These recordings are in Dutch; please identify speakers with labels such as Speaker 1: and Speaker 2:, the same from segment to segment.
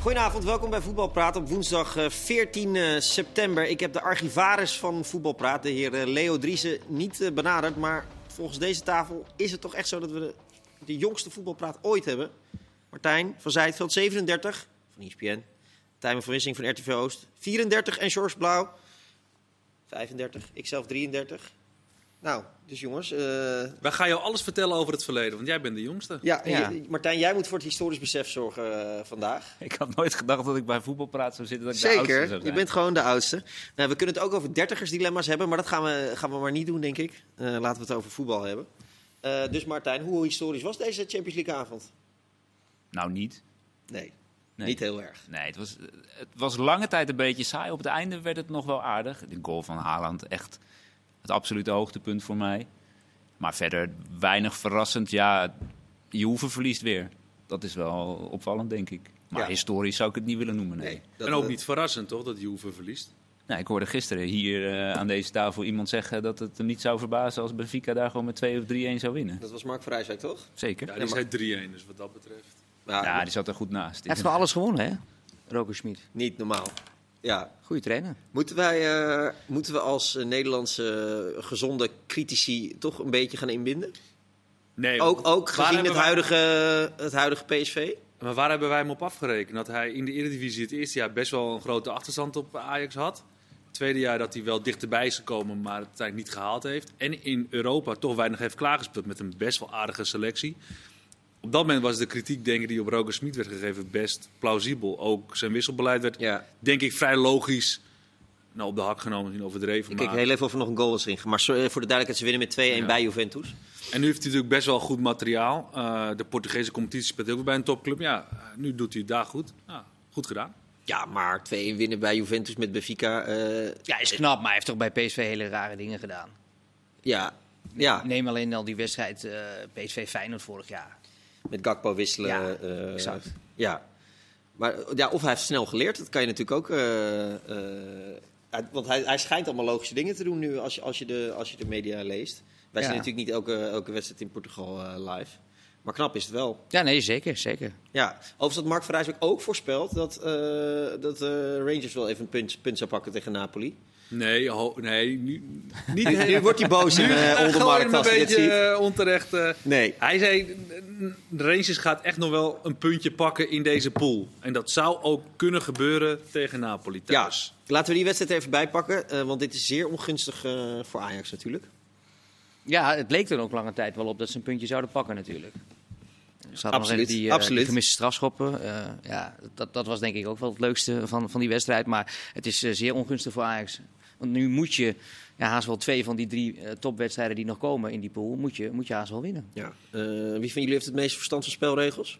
Speaker 1: Goedenavond, welkom bij Voetbalpraat op woensdag eh, 14 eh, september. Ik heb de archivaris van Voetbalpraat, de heer eh, Leo Driessen, niet eh, benaderd. Maar volgens deze tafel is het toch echt zo dat we de, de jongste Voetbalpraat ooit hebben. Martijn van Zijtveld, 37, van E ESPN. Tijmen van Wissing van RTV Oost, 34. En George Blauw, 35. Ikzelf, 33. Nou, dus jongens, eh,
Speaker 2: Wij gaan jou alles vertellen over het verleden, want jij bent de jongste.
Speaker 1: Ja, en
Speaker 3: Ja.
Speaker 1: je- Martijn, jij moet voor het historisch besef zorgen eh, vandaag.
Speaker 3: Ik had nooit gedacht dat ik bij voetbalpraat zou zitten. Dat ik De oudste zou
Speaker 1: je
Speaker 3: zijn.
Speaker 1: bent gewoon de oudste. Nou, we kunnen het ook over dertigersdilemma's hebben, maar dat gaan we, gaan we maar niet doen, denk ik. Eh, laten we het over voetbal hebben. Eh, dus Martijn, hoe historisch was deze Champions League avond?
Speaker 3: Nou, niet.
Speaker 1: Nee,
Speaker 3: Nee.
Speaker 1: niet heel erg.
Speaker 3: Nee, het was, het was lange tijd een beetje saai. Op het einde werd het nog wel aardig. De goal van Haaland echt het absolute hoogtepunt voor mij. Maar verder weinig verrassend. Ja, Juve verliest weer. Dat is wel opvallend, denk ik. Maar
Speaker 1: Ja.
Speaker 3: historisch zou ik het niet willen noemen, nee.
Speaker 1: Nee,
Speaker 3: Nee,
Speaker 1: dat- eh,
Speaker 2: en ook
Speaker 1: dat-
Speaker 2: niet verrassend, toch, dat Juve verliest.
Speaker 3: ik hoorde gisteren hier eh, aan deze tafel iemand zeggen... dat het hem niet zou verbazen als Benfica daar gewoon met 2 of 3-1 zou winnen.
Speaker 1: Dat was Mark Verijswijk, toch?
Speaker 3: Zeker.
Speaker 2: Ja,
Speaker 3: Ja,
Speaker 2: die
Speaker 1: maar-
Speaker 2: zei 3-1, dus wat dat betreft.
Speaker 1: Ja,
Speaker 3: die zat er goed naast.
Speaker 4: Hij heeft wel alles gewonnen, hè? Roger Schmid.
Speaker 1: niet normaal. Ja.
Speaker 4: Goeie trainer.
Speaker 1: Moeten, wij, eh, moeten we als eh, Nederlandse eh, gezonde critici toch een beetje gaan inbinden?
Speaker 2: Nee,
Speaker 1: Ook, ook
Speaker 2: waar
Speaker 1: gezien
Speaker 2: hebben
Speaker 1: het
Speaker 2: wij-
Speaker 1: huidige, het huidige PSV?
Speaker 2: Maar waar hebben wij hem op afgerekend? Dat hij in de Eredivisie het eerste jaar best wel een grote achterstand op Ajax had. Het tweede jaar dat hij wel dichterbij is gekomen, maar het uiteindelijk niet gehaald heeft. En in Europa toch weinig heeft klaargespeeld met een best wel aardige selectie. Op dat moment was de kritiek denk ik, die op Roger Smit werd gegeven best plausibel. Ook zijn wisselbeleid werd
Speaker 1: Ja.
Speaker 2: denk ik vrij logisch nou, op de hak genomen, niet overdreven.
Speaker 1: Ik
Speaker 2: maar...
Speaker 1: kijk heel even of er nog een goal is ingemaakt. Maar zo- eh, voor de duidelijkheid, ze winnen met 2-1
Speaker 2: Ja.
Speaker 1: bij Juventus.
Speaker 2: En nu heeft hij natuurlijk best wel goed materiaal. Eh, de Portugese competitie speelt ook weer bij een topclub. Ja, eh, nu doet hij het daar goed. Ja, goed gedaan.
Speaker 1: Ja, maar 2-1 winnen bij Juventus met Benfica. eh,
Speaker 4: Ja, is knap, maar hij heeft toch bij PSV hele rare dingen gedaan.
Speaker 1: ja, ja,
Speaker 4: Neem alleen al die wedstrijd eh, PSV Feyenoord vorig jaar.
Speaker 1: met Gakpo wisselen.
Speaker 4: Ja,
Speaker 1: eh,
Speaker 4: exact.
Speaker 1: Ja. Maar eh, ja, of hij heeft snel geleerd, dat kan je natuurlijk ook. eh, eh, uit- want hij, hij schijnt allemaal logische dingen te doen nu als je, als je, de, als je de media leest. Wij
Speaker 4: Ja.
Speaker 1: zijn natuurlijk niet elke, elke wedstrijd in Portugal eh, live. Maar knap is het wel.
Speaker 4: Ja, nee, zeker, zeker.
Speaker 1: Ja, overigens had Mark Verrijs ook voorspeld dat, eh, dat eh, Rangers wel even een punt, punt zou pakken tegen Napoli.
Speaker 2: Nee, ho- nee nu, niet
Speaker 1: Nu, nu wordt hij boos in
Speaker 2: Nu
Speaker 1: eh
Speaker 2: gooi je
Speaker 1: Oldenmarkt
Speaker 2: hem een
Speaker 1: als hij dit
Speaker 2: beetje
Speaker 1: ziet.
Speaker 2: eh, onterecht. eh.
Speaker 1: Nee.
Speaker 2: Hij zei, de Rangers gaat echt nog wel een puntje pakken in deze pool. En dat zou ook kunnen gebeuren tegen Napoli
Speaker 1: Ja,
Speaker 2: thuis.
Speaker 1: Dus, laten we die wedstrijd er even bijpakken, eh want dit is zeer ongunstig eh, voor Ajax natuurlijk.
Speaker 4: Ja, het leek er ook lange tijd wel op dat ze een puntje zouden pakken natuurlijk. Ze hadden nog
Speaker 1: Absoluut,
Speaker 4: even die, eh,
Speaker 1: absoluut.
Speaker 4: die gemiste strafschoppen. Eh, ja, dat, dat was denk ik ook wel het leukste van, van die wedstrijd. Maar het is eh, zeer ongunstig voor Ajax. Want nu moet je ja, haast wel twee van die drie eh, topwedstrijden die nog komen in die pool, moet je, moet je haast wel winnen.
Speaker 1: Ja. Eh, wie van jullie heeft het meeste verstand van spelregels?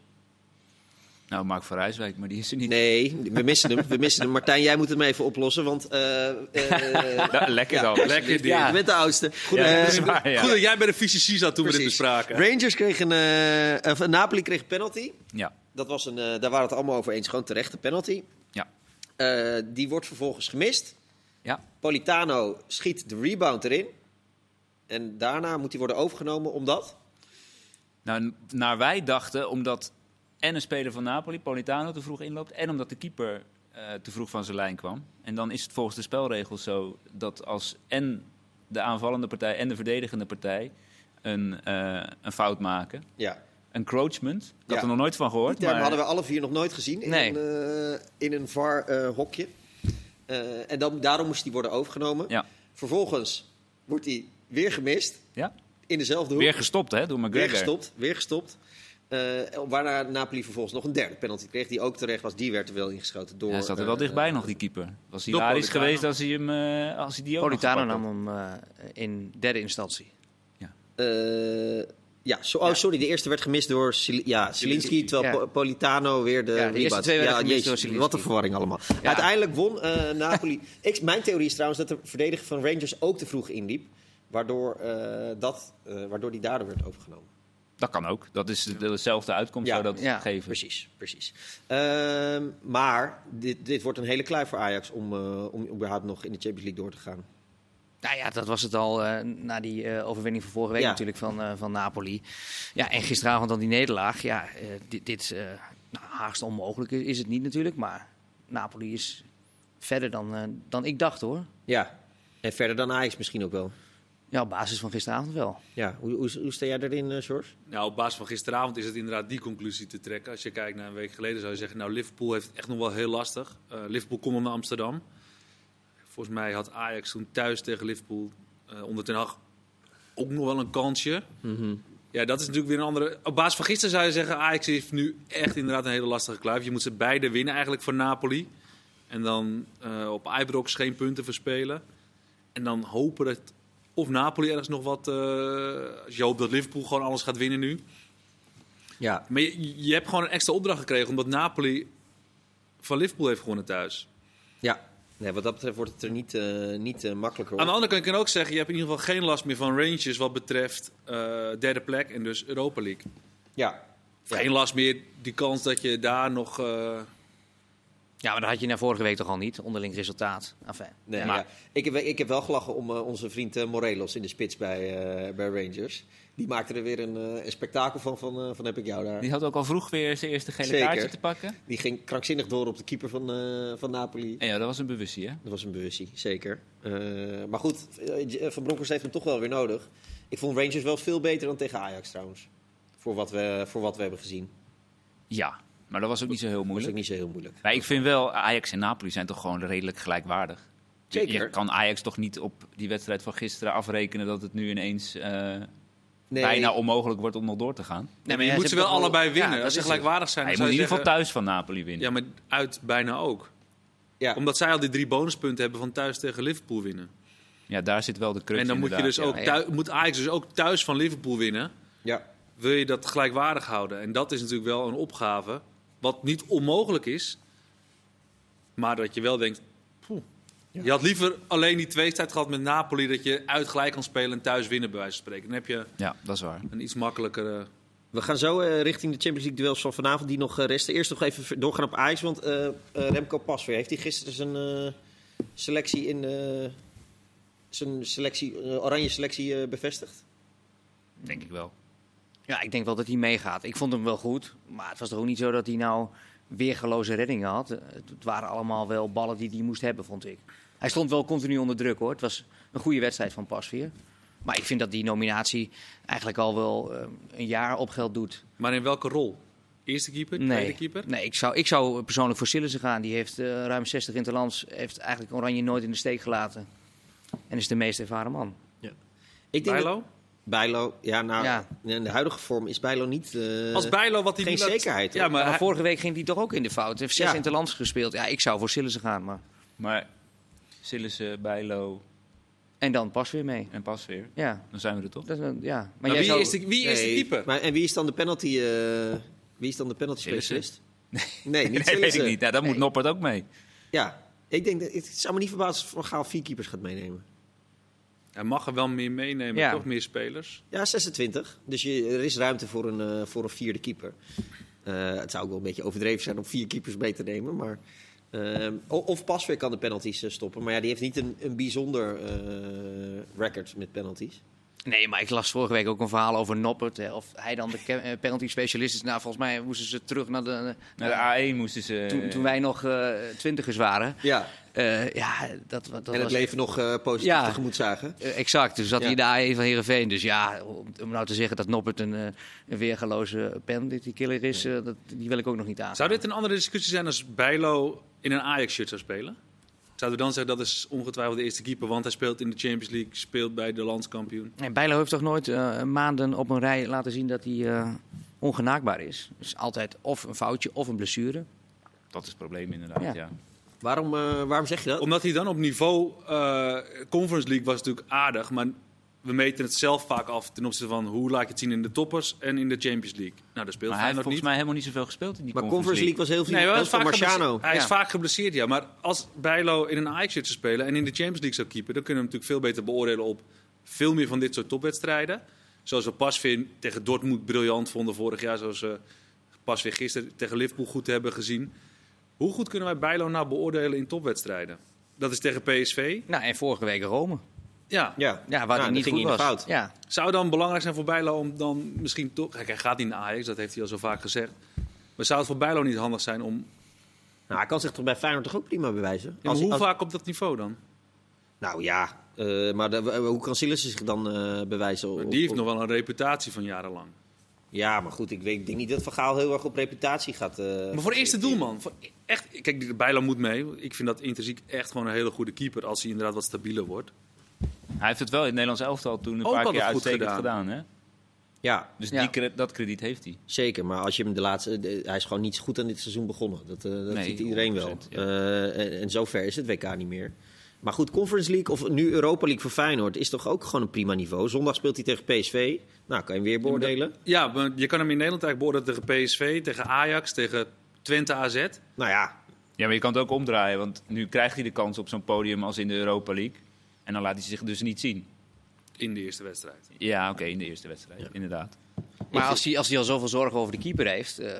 Speaker 3: Nou, Mark van Rijswijk, maar die is er niet.
Speaker 1: Nee, we missen hem. We missen hem. Martijn, jij moet hem even oplossen, want eh, eh,
Speaker 3: Nou, lekker dan.
Speaker 2: Lekker die.
Speaker 1: ja, je bent de oudste. Goed,
Speaker 3: Ja,
Speaker 1: eh,
Speaker 3: dat is waar, ja.
Speaker 2: Goed dat jij bij de fysici zat toen we dit
Speaker 1: precies.
Speaker 2: bespraken.
Speaker 1: Rangers kreeg een, eh, of Napoli kreeg een penalty.
Speaker 3: Ja.
Speaker 1: Dat was een, eh, daar waren het allemaal over eens, gewoon terechte penalty.
Speaker 3: Ja.
Speaker 1: Eh, die wordt vervolgens gemist.
Speaker 3: Ja.
Speaker 1: Politano schiet de rebound erin. En daarna moet hij worden overgenomen omdat...
Speaker 3: Nou, n- naar wij dachten, omdat en een speler van Napoli, Politano, te vroeg inloopt... en omdat de keeper eh, te vroeg van zijn lijn kwam. En dan is het volgens de spelregels zo dat als en de aanvallende partij en de verdedigende partij... een, eh, een fout maken,
Speaker 1: Ja,
Speaker 3: encroachment, ik had
Speaker 1: Ja.
Speaker 3: er nog nooit van
Speaker 1: die
Speaker 3: gehoord.
Speaker 1: term
Speaker 3: Maar
Speaker 1: hadden we alle vier nog nooit gezien in
Speaker 4: Nee.
Speaker 1: een, eh, in een VAR-hokje. en dan, daarom moest hij worden overgenomen.
Speaker 3: Ja.
Speaker 1: Vervolgens wordt hij weer gemist
Speaker 3: ja?
Speaker 1: in dezelfde hoek.
Speaker 3: Weer gestopt, hè, door
Speaker 1: Weer
Speaker 3: McGregor.
Speaker 1: gestopt, weer gestopt. Eh, waarna Napoli vervolgens nog een derde penalty kreeg, die ook terecht was. Die werd er wel ingeschoten door...
Speaker 3: Ja, hij zat er wel
Speaker 1: eh,
Speaker 3: dichtbij nog, die keeper. Was
Speaker 2: door
Speaker 3: hilarisch
Speaker 2: Politano.
Speaker 3: geweest als hij, hem, eh, als hij die ook nog
Speaker 4: Politano
Speaker 3: gepakt
Speaker 4: nam
Speaker 3: had.
Speaker 4: hem eh, in derde instantie.
Speaker 1: Eh, ja, zo, oh, sorry, de eerste werd gemist door Sil- ja, Zielinski, terwijl
Speaker 4: Ja.
Speaker 1: Po- Politano weer de
Speaker 4: Ja, de
Speaker 1: rebound.
Speaker 4: eerste twee werden gemist door Zielinski.
Speaker 1: Wat een verwarring allemaal. Uiteindelijk won eh, Napoli. Ik, mijn theorie is trouwens dat de verdediger van Rangers ook te vroeg inliep, waardoor, eh, dat, eh, waardoor die daardoor werd overgenomen.
Speaker 3: Dat kan ook. Dat is de- dezelfde uitkomst
Speaker 1: Ja.
Speaker 3: zou dat
Speaker 4: Ja,
Speaker 3: geven.
Speaker 1: Precies, precies. Ehm, maar dit, dit wordt een hele klui voor Ajax om, eh, om überhaupt nog in de Champions League door te gaan.
Speaker 4: Nou ja, dat was het al eh, na die eh, overwinning van vorige week
Speaker 1: Ja.
Speaker 4: natuurlijk van, eh, van Napoli. Ja, en gisteravond dan die nederlaag. Ja, eh, dit, dit, eh, nou, haast onmogelijk is, is het niet natuurlijk. Maar Napoli is verder dan, eh, dan ik dacht hoor.
Speaker 1: Ja. En verder dan Ajax misschien ook wel.
Speaker 4: Ja, op basis van gisteravond wel.
Speaker 1: Ja. Hoe, hoe, hoe sta jij daarin, eh George?
Speaker 2: Nou, op basis van gisteravond is het inderdaad die conclusie te trekken. Als je kijkt naar een week geleden, zou je zeggen: Nou, Liverpool heeft het echt nog wel heel lastig. Eh, Liverpool komt naar Amsterdam. Volgens mij had Ajax toen thuis tegen Liverpool eh, onder Ten Hag ook nog wel een kansje. Ja, dat is natuurlijk weer een andere. Op basis van gisteren zou je zeggen: Ajax heeft nu echt inderdaad een hele lastige kluif. Je moet ze beide winnen eigenlijk voor Napoli. En dan eh, op Ibrox geen punten verspelen. En dan hopen dat of Napoli ergens nog wat. eh, als je hoopt dat Liverpool gewoon alles gaat winnen nu.
Speaker 1: Ja.
Speaker 2: Maar je, je hebt gewoon een extra opdracht gekregen omdat Napoli van Liverpool heeft gewonnen thuis.
Speaker 1: Ja. Nee, wat dat betreft wordt het er niet, eh, niet eh, makkelijker
Speaker 2: Aan
Speaker 1: op.
Speaker 2: de andere kant kan ik ook zeggen, je hebt in ieder geval geen last meer van Rangers wat betreft eh, derde plek en dus Europa League.
Speaker 1: Ja. Ja.
Speaker 2: Geen last meer die kans dat je daar nog... eh,
Speaker 4: Ja, maar dat had je na vorige week toch al niet, onderling resultaat. Enfin,
Speaker 1: Nee,
Speaker 4: maar
Speaker 1: ja. ik, heb, ik heb wel gelachen om eh, onze vriend eh, Morelos in de spits bij, eh, bij Rangers. Die maakte er weer een, eh, een spektakel van, van, eh, van heb ik jou daar.
Speaker 3: Die had ook al vroeg weer zijn eerste gele
Speaker 1: Zeker.
Speaker 3: kaartje te pakken.
Speaker 1: Die ging krankzinnig door op de keeper van, eh, van Napoli.
Speaker 3: En ja, dat was een bewustzijn, hè?
Speaker 1: Dat was een bewustie, zeker. Eh, maar goed, eh, Van Bronckhorst heeft hem toch wel weer nodig. Ik vond Rangers wel veel beter dan tegen Ajax trouwens. Voor wat we, voor wat we hebben gezien.
Speaker 3: Ja, maar dat was ook niet zo heel
Speaker 1: Dat is ook
Speaker 3: moeilijk.
Speaker 1: niet zo heel moeilijk.
Speaker 3: Maar ik vind wel, Ajax en Napoli zijn toch gewoon redelijk gelijkwaardig. Je-
Speaker 1: Zeker.
Speaker 3: Je kan Ajax toch niet op die wedstrijd van gisteren afrekenen dat het nu ineens eh,
Speaker 1: Nee,
Speaker 3: bijna onmogelijk wordt om nog door te gaan.
Speaker 4: maar
Speaker 2: je
Speaker 4: ja,
Speaker 2: moet
Speaker 4: ze
Speaker 2: ze
Speaker 4: hebben
Speaker 2: wel
Speaker 4: toch wel-
Speaker 2: allebei winnen.
Speaker 1: Ja, dat
Speaker 2: als ze
Speaker 1: is het.
Speaker 2: gelijkwaardig zijn,
Speaker 3: Hij
Speaker 2: dan
Speaker 3: moet in
Speaker 2: zou je
Speaker 3: ieder geval
Speaker 2: zeggen-
Speaker 3: thuis van Napoli winnen.
Speaker 2: Ja, maar uit bijna ook.
Speaker 1: ja.
Speaker 2: Omdat zij al die drie bonuspunten hebben van thuis tegen Liverpool winnen.
Speaker 3: Ja, daar zit wel de crux
Speaker 2: en dan moet, je dus
Speaker 3: inderdaad,
Speaker 2: ook
Speaker 3: ja.
Speaker 4: ja.
Speaker 2: thui- moet Ajax dus ook thuis van Liverpool winnen.
Speaker 1: ja.
Speaker 2: wil je dat gelijkwaardig houden. En dat is natuurlijk wel een opgave, wat niet onmogelijk is, maar dat je wel denkt. poeh.
Speaker 1: Ja.
Speaker 2: Je had liever alleen die tweestrijd gehad met Napoli, dat je uit gelijk kan spelen en thuis winnen, bij wijze van spreken. Dan heb je
Speaker 3: Ja, dat is waar.
Speaker 2: een iets makkelijkere.
Speaker 1: We gaan zo eh, richting de Champions League duels van vanavond die nog eh, resten. Eerst nog even doorgaan op Ajax, want eh, eh, Remco Pasveer heeft hij gisteren zijn eh, selectie in eh, zijn selectie, eh, oranje selectie eh, bevestigd.
Speaker 3: Denk ik wel.
Speaker 4: Ja, ik denk wel dat hij meegaat. Ik vond hem wel goed, maar het was toch ook niet zo dat hij nou weergeloze reddingen had. Het het waren allemaal wel ballen die hij moest hebben, vond ik. Hij stond wel continu onder druk hoor. Het was een goede wedstrijd van Pasveer. Maar ik vind dat die nominatie eigenlijk al wel eh, een jaar op geld doet.
Speaker 2: Maar in welke rol? Eerste keeper, tweede keeper?
Speaker 4: nee ik, zou, ik zou persoonlijk voor Sillissen gaan. Die heeft eh, ruim 60 interlands, heeft eigenlijk Oranje nooit in de steek gelaten. En is de meest ervaren man.
Speaker 1: Ik
Speaker 2: Bijlo?
Speaker 1: dat- Bijlo, ja, nou,
Speaker 4: Ja.
Speaker 1: in de huidige vorm is Bijlo niet. eh,
Speaker 2: Als Bijlo wat hij
Speaker 1: geen
Speaker 2: nu laat-
Speaker 1: zekerheid, hoor.
Speaker 2: Ja, maar
Speaker 4: Maar
Speaker 2: hij-
Speaker 4: vorige week ging hij toch ook in de fout. Hij heeft zes
Speaker 1: Ja.
Speaker 4: interlands gespeeld. Ja, ik zou voor Sillissen gaan, maar...
Speaker 3: Maar Sillissen, Bijlo
Speaker 4: En dan pas weer mee.
Speaker 3: en Pasveer,
Speaker 4: Ja.
Speaker 3: dan zijn we er toch?
Speaker 4: Dat, is een- ja. Maar,
Speaker 2: maar
Speaker 4: jij
Speaker 2: wie,
Speaker 4: zou-
Speaker 2: is de, wie is de
Speaker 1: Nee,
Speaker 2: keeper?
Speaker 1: Maar, en wie is dan de penalty? eh, wie is dan de penalty
Speaker 3: Sillissen.
Speaker 1: specialist? Nee, niet
Speaker 3: nee, weet ik
Speaker 1: Sillissen.
Speaker 3: niet. Nou, daar moet Noppert ook mee.
Speaker 1: Ja, ik denk dat het zou me niet verbazen als Van Gaal vier keepers gaat meenemen.
Speaker 2: Hij mag er wel meer meenemen,
Speaker 4: Ja.
Speaker 2: toch meer spelers.
Speaker 1: Ja, 26. Dus je, er is ruimte voor een, eh, voor een vierde keeper. Eh, het zou ook wel een beetje overdreven zijn om vier keepers mee te nemen. Maar, ehm, o- of Pasveer kan de penalties eh, stoppen. Maar ja, die heeft niet een, een bijzonder eh, record met penalties.
Speaker 4: Nee, maar ik las vorige week ook een verhaal over Noppert. Hè, of hij dan de ke- eh, penalty specialist is. Nou, volgens mij moesten ze terug naar de...
Speaker 3: Naar de A1 moesten ze...
Speaker 4: toen, toen wij nog eh, twintigers waren.
Speaker 1: Ja,
Speaker 4: Eh, ja, dat, dat
Speaker 1: en het
Speaker 4: was...
Speaker 1: leven nog eh, positief
Speaker 4: Ja.
Speaker 1: tegemoet zagen.
Speaker 4: Eh, exact. Toen zat
Speaker 1: Ja.
Speaker 4: hij in de A1 van Heerenveen. Dus ja, om, om nou te zeggen dat Noppert een, eh, een weergeloze penalty killer is... eh, dat, die wil ik ook nog niet aan.
Speaker 2: Zou dit een andere discussie zijn als Bijlo in een Ajax-shirt zou spelen? Zouden we dan zeggen dat is ongetwijfeld de eerste keeper, want hij speelt in de Champions League, speelt bij de landskampioen.
Speaker 4: Nee, Bijlo heeft toch nooit eh, maanden op een rij laten zien dat hij eh, ongenaakbaar is. Dus altijd of een foutje of een blessure.
Speaker 3: Dat is het probleem inderdaad,
Speaker 4: Ja.
Speaker 3: ja.
Speaker 1: Waarom, eh, waarom zeg je dat?
Speaker 2: Omdat hij dan op niveau eh, Conference League was natuurlijk aardig, maar we meten het zelf vaak af ten opzichte van hoe laat je het zien in de toppers en in de Champions League. Nou, daar speelt
Speaker 3: Maar hij heeft
Speaker 2: Feyenoord
Speaker 3: volgens
Speaker 2: niet.
Speaker 3: mij helemaal niet zoveel gespeeld in die
Speaker 1: maar Conference League was heel veel,
Speaker 2: Nee, hij,
Speaker 1: heel
Speaker 2: was
Speaker 1: veel
Speaker 2: vaak
Speaker 1: Marciano.
Speaker 2: geblesseerd. hij is
Speaker 4: Ja.
Speaker 2: vaak geblesseerd, ja. Maar als Bijlo in een Ajax-shirt zou spelen en in de Champions League zou keeper... dan kunnen we hem natuurlijk veel beter beoordelen op veel meer van dit soort topwedstrijden. Zoals we Pasveer tegen Dortmund briljant vonden vorig jaar. Zoals we Pasveer gisteren tegen Liverpool goed hebben gezien. Hoe goed kunnen wij Bijlo nou beoordelen in topwedstrijden? Dat is tegen PSV.
Speaker 4: Nou, en vorige week Rome.
Speaker 2: Ja.
Speaker 1: Ja,
Speaker 4: Ja, waar
Speaker 1: Nou,
Speaker 4: hij
Speaker 1: dat
Speaker 4: niet
Speaker 1: ging
Speaker 4: goed
Speaker 1: in
Speaker 4: was.
Speaker 1: de fout.
Speaker 4: Ja.
Speaker 2: Zou het dan belangrijk zijn voor Bijlo om dan misschien toch... Kijk, hij gaat niet naar Ajax, dat heeft hij al zo vaak gezegd. Maar zou het voor Bijlo niet handig zijn om...
Speaker 1: Nou, hij kan zich toch bij Feyenoord toch ook prima bewijzen?
Speaker 2: Ja, maar
Speaker 1: Als-
Speaker 2: hoe
Speaker 1: als-
Speaker 2: vaak op dat niveau dan?
Speaker 1: Nou ja, eh, maar de- hoe kan Sillissen zich dan eh, bewijzen? Op-
Speaker 2: Die heeft
Speaker 1: op-
Speaker 2: nog wel een reputatie van jarenlang.
Speaker 1: Ja, maar goed, ik, weet, ik denk niet dat Van Gaal heel erg op reputatie gaat. eh,
Speaker 2: Maar voor eerste doelman. Voor echt, kijk, de Bijlo moet mee. Ik vind dat intrinsiek echt gewoon een hele goede keeper als hij inderdaad wat stabieler wordt.
Speaker 3: Hij heeft het wel in het Nederlands elftal toen een
Speaker 2: Ook
Speaker 3: paar
Speaker 2: al
Speaker 3: keer
Speaker 2: dat goed
Speaker 3: uitstekend gedaan.
Speaker 2: gedaan.
Speaker 3: hè?
Speaker 1: Ja,
Speaker 3: Dus
Speaker 4: Ja.
Speaker 3: die cre- dat krediet heeft hij.
Speaker 1: zeker. Maar als je hem de laatste. de- hij is gewoon niet goed aan dit seizoen begonnen. Dat, eh, dat
Speaker 3: Nee,
Speaker 1: ziet iedereen wel.
Speaker 3: 100%,
Speaker 1: Eh, en, en zover is het WK niet meer. Maar goed, Conference League of nu Europa League voor Feyenoord is toch ook gewoon een prima niveau. Zondag speelt hij tegen PSV. Nou, kan je hem weer beoordelen.
Speaker 2: Ja, maar je kan hem in Nederland eigenlijk beoordelen tegen PSV, tegen Ajax, tegen Twente AZ.
Speaker 1: Nou ja,
Speaker 3: Ja, maar je kan het ook omdraaien. Want nu krijgt hij de kans op zo'n podium als in de Europa League. En dan laat hij zich dus niet zien.
Speaker 2: In de eerste wedstrijd.
Speaker 3: Ja, oké, in de eerste wedstrijd, inderdaad.
Speaker 4: Maar als hij, als hij al zoveel zorgen over de keeper heeft, eh,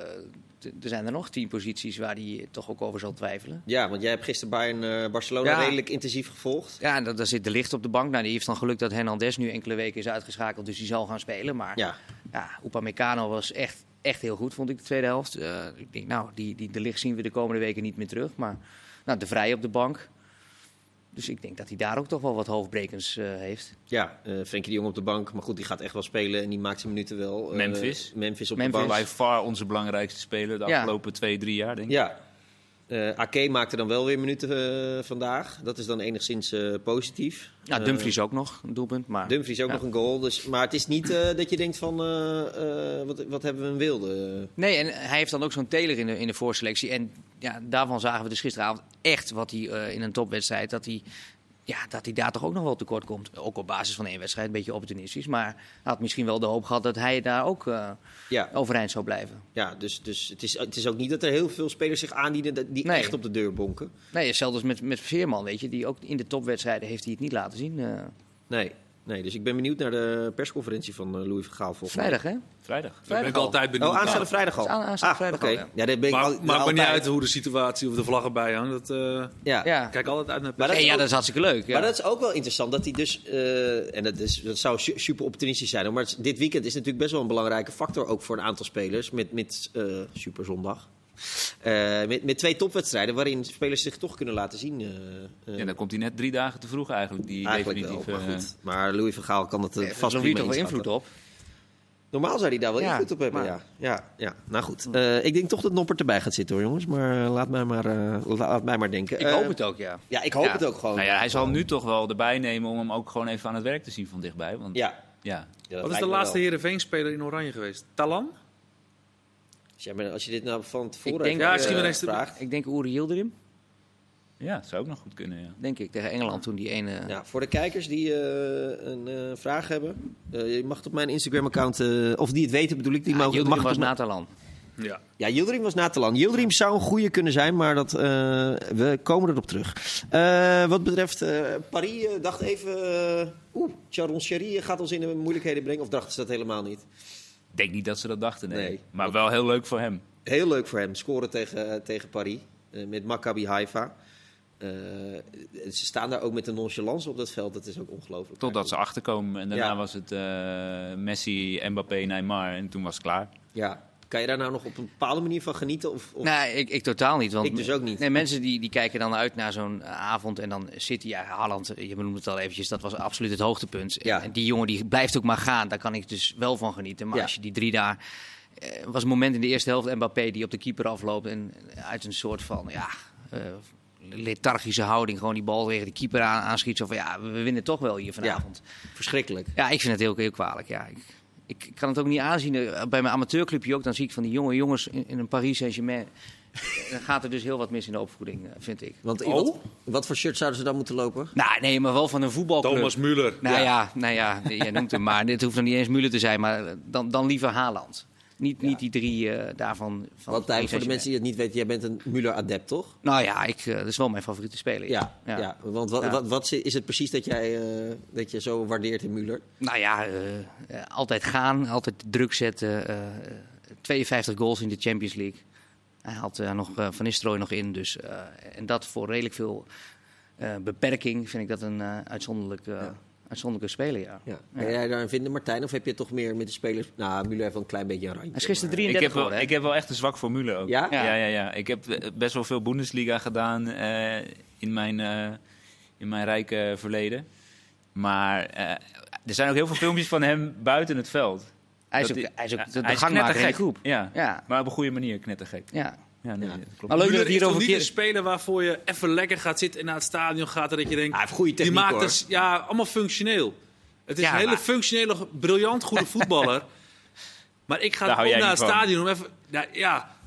Speaker 4: t- er zijn er nog tien posities waar hij toch ook over zal twijfelen.
Speaker 1: ja, want jij hebt gisteren Bayern eh, Barcelona
Speaker 4: Ja.
Speaker 1: redelijk intensief gevolgd.
Speaker 4: Ja, en dan- daar zit de licht op de bank. Nou, die heeft dan geluk dat Hernandez nu enkele weken is uitgeschakeld, dus die zal gaan spelen. Maar ja,
Speaker 1: Ja,
Speaker 4: Upamecano was echt, echt heel goed, vond ik de tweede helft. Eh, ik denk, nou, die, die de licht zien we de komende weken niet meer terug. Maar nou, de Vrij op de bank. Dus ik denk dat hij daar ook toch wel wat hoofdbrekens eh, heeft.
Speaker 1: ja. eh Frenkie de Jong op de bank. Maar goed, die gaat echt wel spelen en die maakt zijn minuten wel. Eh,
Speaker 3: Memphis.
Speaker 1: Memphis op
Speaker 4: Memphis.
Speaker 1: de bank.
Speaker 3: By far onze belangrijkste speler de
Speaker 4: Ja.
Speaker 3: afgelopen twee, drie jaar, denk ik.
Speaker 1: Ja. Eh Ake maakte dan wel weer minuten eh, vandaag. Dat is dan enigszins eh, positief.
Speaker 4: Ja,
Speaker 1: Eh,
Speaker 4: Dumfries ook nog, een doelpunt. Maar
Speaker 1: Dumfries ook
Speaker 4: Ja.
Speaker 1: nog een goal. Dus, maar het is niet eh, dat je denkt van, eh, eh, wat, wat hebben we een wilde?
Speaker 4: Nee, en hij heeft dan ook zo'n teler in de, in de voorselectie. En ja, daarvan zagen we dus gisteravond echt wat hij eh, in een topwedstrijd. Dat hij, ja, dat hij daar toch ook nog wel tekort komt. Ook op basis van één wedstrijd, een beetje opportunistisch. Maar hij had misschien wel de hoop gehad dat hij daar ook eh,
Speaker 1: Ja,
Speaker 4: overeind zou blijven.
Speaker 1: ja dus, dus het, is, het is ook niet dat er heel veel spelers zich aandienen dat- die
Speaker 4: Nee.
Speaker 1: echt op de deur bonken.
Speaker 4: Nee, hetzelfde als met, met Veerman, weet je. Die ook in de topwedstrijden heeft hij het niet laten zien. eh,
Speaker 1: Nee. nee, dus ik ben benieuwd naar de persconferentie van eh, Louis van Gaal volgende
Speaker 4: vrijdag, hè?
Speaker 3: Vrijdag.
Speaker 2: Daar ben ik altijd
Speaker 1: week.
Speaker 2: benieuwd
Speaker 1: Oh, aanstaande
Speaker 2: naar.
Speaker 1: vrijdag al?
Speaker 4: Het is aan- aanstaande
Speaker 1: Ah,
Speaker 4: vrijdag al,
Speaker 1: oké.
Speaker 4: ja.
Speaker 1: Ja, daar ben ik al-
Speaker 2: Maar
Speaker 1: daar
Speaker 2: maakt me niet
Speaker 1: altijd-
Speaker 2: uit hoe de situatie of de vlaggen bij hangen. Dat, eh,
Speaker 1: Ja.
Speaker 4: Ja.
Speaker 2: Kijk altijd uit naar
Speaker 1: Maar dat
Speaker 4: Nee,
Speaker 1: is
Speaker 4: ja,
Speaker 1: ook-
Speaker 4: dat is hartstikke leuk. Ja.
Speaker 1: Maar dat is ook wel interessant dat hij dus, eh, en dat, is, dat zou su- super optimistisch zijn, hoor, maar het is- dit weekend is natuurlijk best wel een belangrijke factor ook voor een aantal spelers met, met eh, super zondag. Eh, met, met twee topwedstrijden waarin spelers zich toch kunnen laten zien. eh, eh,
Speaker 3: Ja, dan komt hij net drie dagen te vroeg eigenlijk, die
Speaker 1: eigenlijk wel,
Speaker 3: definitief.
Speaker 1: maar
Speaker 3: eh,
Speaker 1: goed. Maar Louis van Gaal kan het eh,
Speaker 4: Daar heeft
Speaker 1: vast
Speaker 4: Louis
Speaker 1: prima
Speaker 4: toch wel
Speaker 1: inschatten.
Speaker 4: invloed op.
Speaker 1: Normaal zou hij daar wel
Speaker 4: Ja,
Speaker 1: invloed op hebben,
Speaker 4: maar-
Speaker 1: ja. ja. Ja, nou goed. Eh, ik denk toch dat Noppert erbij gaat zitten hoor, jongens. Maar laat mij maar, eh, la- laat mij maar denken.
Speaker 4: Ik
Speaker 1: Eh,
Speaker 4: hoop het ook, ja.
Speaker 1: Ja, ik hoop
Speaker 4: Ja.
Speaker 1: het ook gewoon.
Speaker 3: nou ja, hij zal hem nu toch wel erbij nemen om hem ook gewoon even aan het werk te zien van dichtbij. Want ja,
Speaker 1: Ja. Ja, dat
Speaker 2: wat is
Speaker 1: lijkt
Speaker 2: de
Speaker 1: me
Speaker 2: laatste
Speaker 1: wel.
Speaker 2: Heerenveen-speler in Oranje geweest? Talan?
Speaker 1: Dus ja, maar als je dit nou van tevoren
Speaker 4: Ik denk-
Speaker 1: even,
Speaker 4: Ja,
Speaker 1: eh,
Speaker 4: schiet maar
Speaker 2: eens te-
Speaker 1: vraagt.
Speaker 4: Ik denk Uri Yildirim,
Speaker 3: ja zou ook nog goed kunnen. Ja.
Speaker 4: denk ik, tegen Engeland toen die ene...
Speaker 1: Ja, voor de kijkers die eh, een eh, vraag hebben, eh, je mag het op mijn Instagram-account, eh, of die het weten bedoel ik, die
Speaker 4: Ah,
Speaker 1: mogen-
Speaker 4: Yildirim
Speaker 1: mag het
Speaker 4: was
Speaker 1: op mijn-
Speaker 4: Natalan.
Speaker 2: Ja.
Speaker 1: Ja, Yildirim was na te lang. Yildirim zou een goede kunnen zijn, maar dat, eh, we komen erop terug. Eh, wat betreft eh, Paris, eh, dacht even, eh, oeh, Charon Sherry gaat ons in de moeilijkheden brengen, of dachten ze dat helemaal niet?
Speaker 3: Ik denk niet dat ze dat dachten, nee.
Speaker 1: Nee.
Speaker 3: Maar wel heel leuk voor hem.
Speaker 1: Heel leuk voor hem, scoren tegen, tegen Paris, eh, met Maccabi Haifa. Eh, ze staan daar ook met een nonchalance op dat veld, dat is ook ongelooflijk.
Speaker 3: Totdat ze achterkomen en daarna
Speaker 1: Ja.
Speaker 3: was het eh, Messi, Mbappé, Neymar en toen was het klaar.
Speaker 1: Ja, kan je daar nou nog op een bepaalde manier van genieten? Of, of...
Speaker 4: Nee, ik, ik totaal niet. Want
Speaker 1: Ik dus ook niet.
Speaker 4: Nee, mensen die, die kijken dan uit naar zo'n eh, avond en dan zit hij, ja, Haaland, eh, je benoemde het al eventjes, dat was absoluut het hoogtepunt. En-
Speaker 1: Ja.
Speaker 4: En die jongen die blijft ook maar gaan, daar kan ik dus wel van genieten. Maar
Speaker 1: Ja.
Speaker 4: als je die drie daar, eh, was een moment in de eerste helft, Mbappé die op de keeper afloopt en uit een soort van, ja... eh, lethargische houding, gewoon die bal tegen de keeper aan, aanschiet. Zo van, ja, we we winnen toch wel hier vanavond.
Speaker 1: Verschrikkelijk.
Speaker 4: Ja, ik vind het heel, heel kwalijk. Ja. Ik, ik kan het ook niet aanzien. Eh, Bij mijn amateurclubje ook, dan zie ik van die jonge jongens in, in een Paris Saint-Germain. Dan gaat er dus heel wat mis in de opvoeding, eh, vind ik.
Speaker 1: Want
Speaker 2: Oh?
Speaker 1: wat, wat voor shirt zouden ze dan moeten lopen?
Speaker 3: Oh,
Speaker 4: Nou, nee, maar wel van een voetbalclub.
Speaker 2: Thomas Müller.
Speaker 4: Nou ja, nou ja jij noemt hem maar. Dit hoeft dan niet eens Müller te zijn, maar eh, dan, dan liever Haaland. Niet, niet die drie eh, daarvan. Van
Speaker 1: Want eigenlijk voor de
Speaker 4: Paris
Speaker 1: mensen die het niet weten, jij bent een Müller-adept, toch?
Speaker 4: Saint-Germain. Nou ja, ik, eh, dat is wel mijn favoriete speler.
Speaker 1: Ja, ja. want wat,
Speaker 4: Ja.
Speaker 1: Wat, wat is het precies dat, jij, eh, dat je zo waardeert in Müller?
Speaker 4: Nou ja, eh, eh, altijd gaan, altijd de druk zetten. eh, eh, 52 goals in de Champions League. Hij had eh, nog eh, Van Nistelrooy nog in. Dus, eh, en dat voor redelijk veel eh, beperking vind ik dat een eh, uitzonderlijk eh, uitzonderlijke speler, ja.
Speaker 1: Ja. Ben jij daarin vinden, Martijn? Of heb je toch meer met de spelers... Nou, Müller heeft wel een klein beetje een randje.
Speaker 4: Hij is gisteren
Speaker 1: maar-
Speaker 3: Ik heb,
Speaker 4: 33
Speaker 3: wel,
Speaker 4: geworden, hè?
Speaker 3: ik heb wel echt een zwak formule ook.
Speaker 1: Ja?
Speaker 3: Ja, ja, ja. Ik heb eh, best wel veel Bundesliga gedaan eh, in, mijn, eh, in mijn rijke verleden. Maar eh, er zijn ook heel veel filmpjes van hem buiten het veld.
Speaker 4: Hij is
Speaker 3: Dat
Speaker 4: ook,
Speaker 3: die-
Speaker 4: hij is ook de,
Speaker 3: hij
Speaker 4: de
Speaker 3: is
Speaker 4: gangmaker in de
Speaker 3: knettergek.
Speaker 4: groep.
Speaker 3: Ja.
Speaker 4: Ja.
Speaker 3: maar op een goede manier knettergek.
Speaker 4: Ja.
Speaker 3: Ja, nee,
Speaker 1: Ja.
Speaker 3: dat klopt.
Speaker 4: Maar leuk dat
Speaker 2: Müller
Speaker 4: het
Speaker 2: is
Speaker 4: hier
Speaker 2: toch
Speaker 4: over
Speaker 2: niet een
Speaker 4: keer...
Speaker 2: speler waarvoor je even lekker gaat zitten en naar het stadion gaat. En dat je denkt,
Speaker 1: Hij heeft goede
Speaker 2: die
Speaker 1: techniek,
Speaker 2: maakt
Speaker 1: hoor.
Speaker 2: het ja, allemaal functioneel. Het is
Speaker 3: Ja,
Speaker 2: een hele
Speaker 3: maar-
Speaker 2: functionele, briljant goede voetballer. Maar ik
Speaker 3: Daar
Speaker 2: ga
Speaker 3: hou
Speaker 2: ook
Speaker 3: jij
Speaker 2: naar het
Speaker 3: niet van.
Speaker 2: stadion om even... Ja, ja,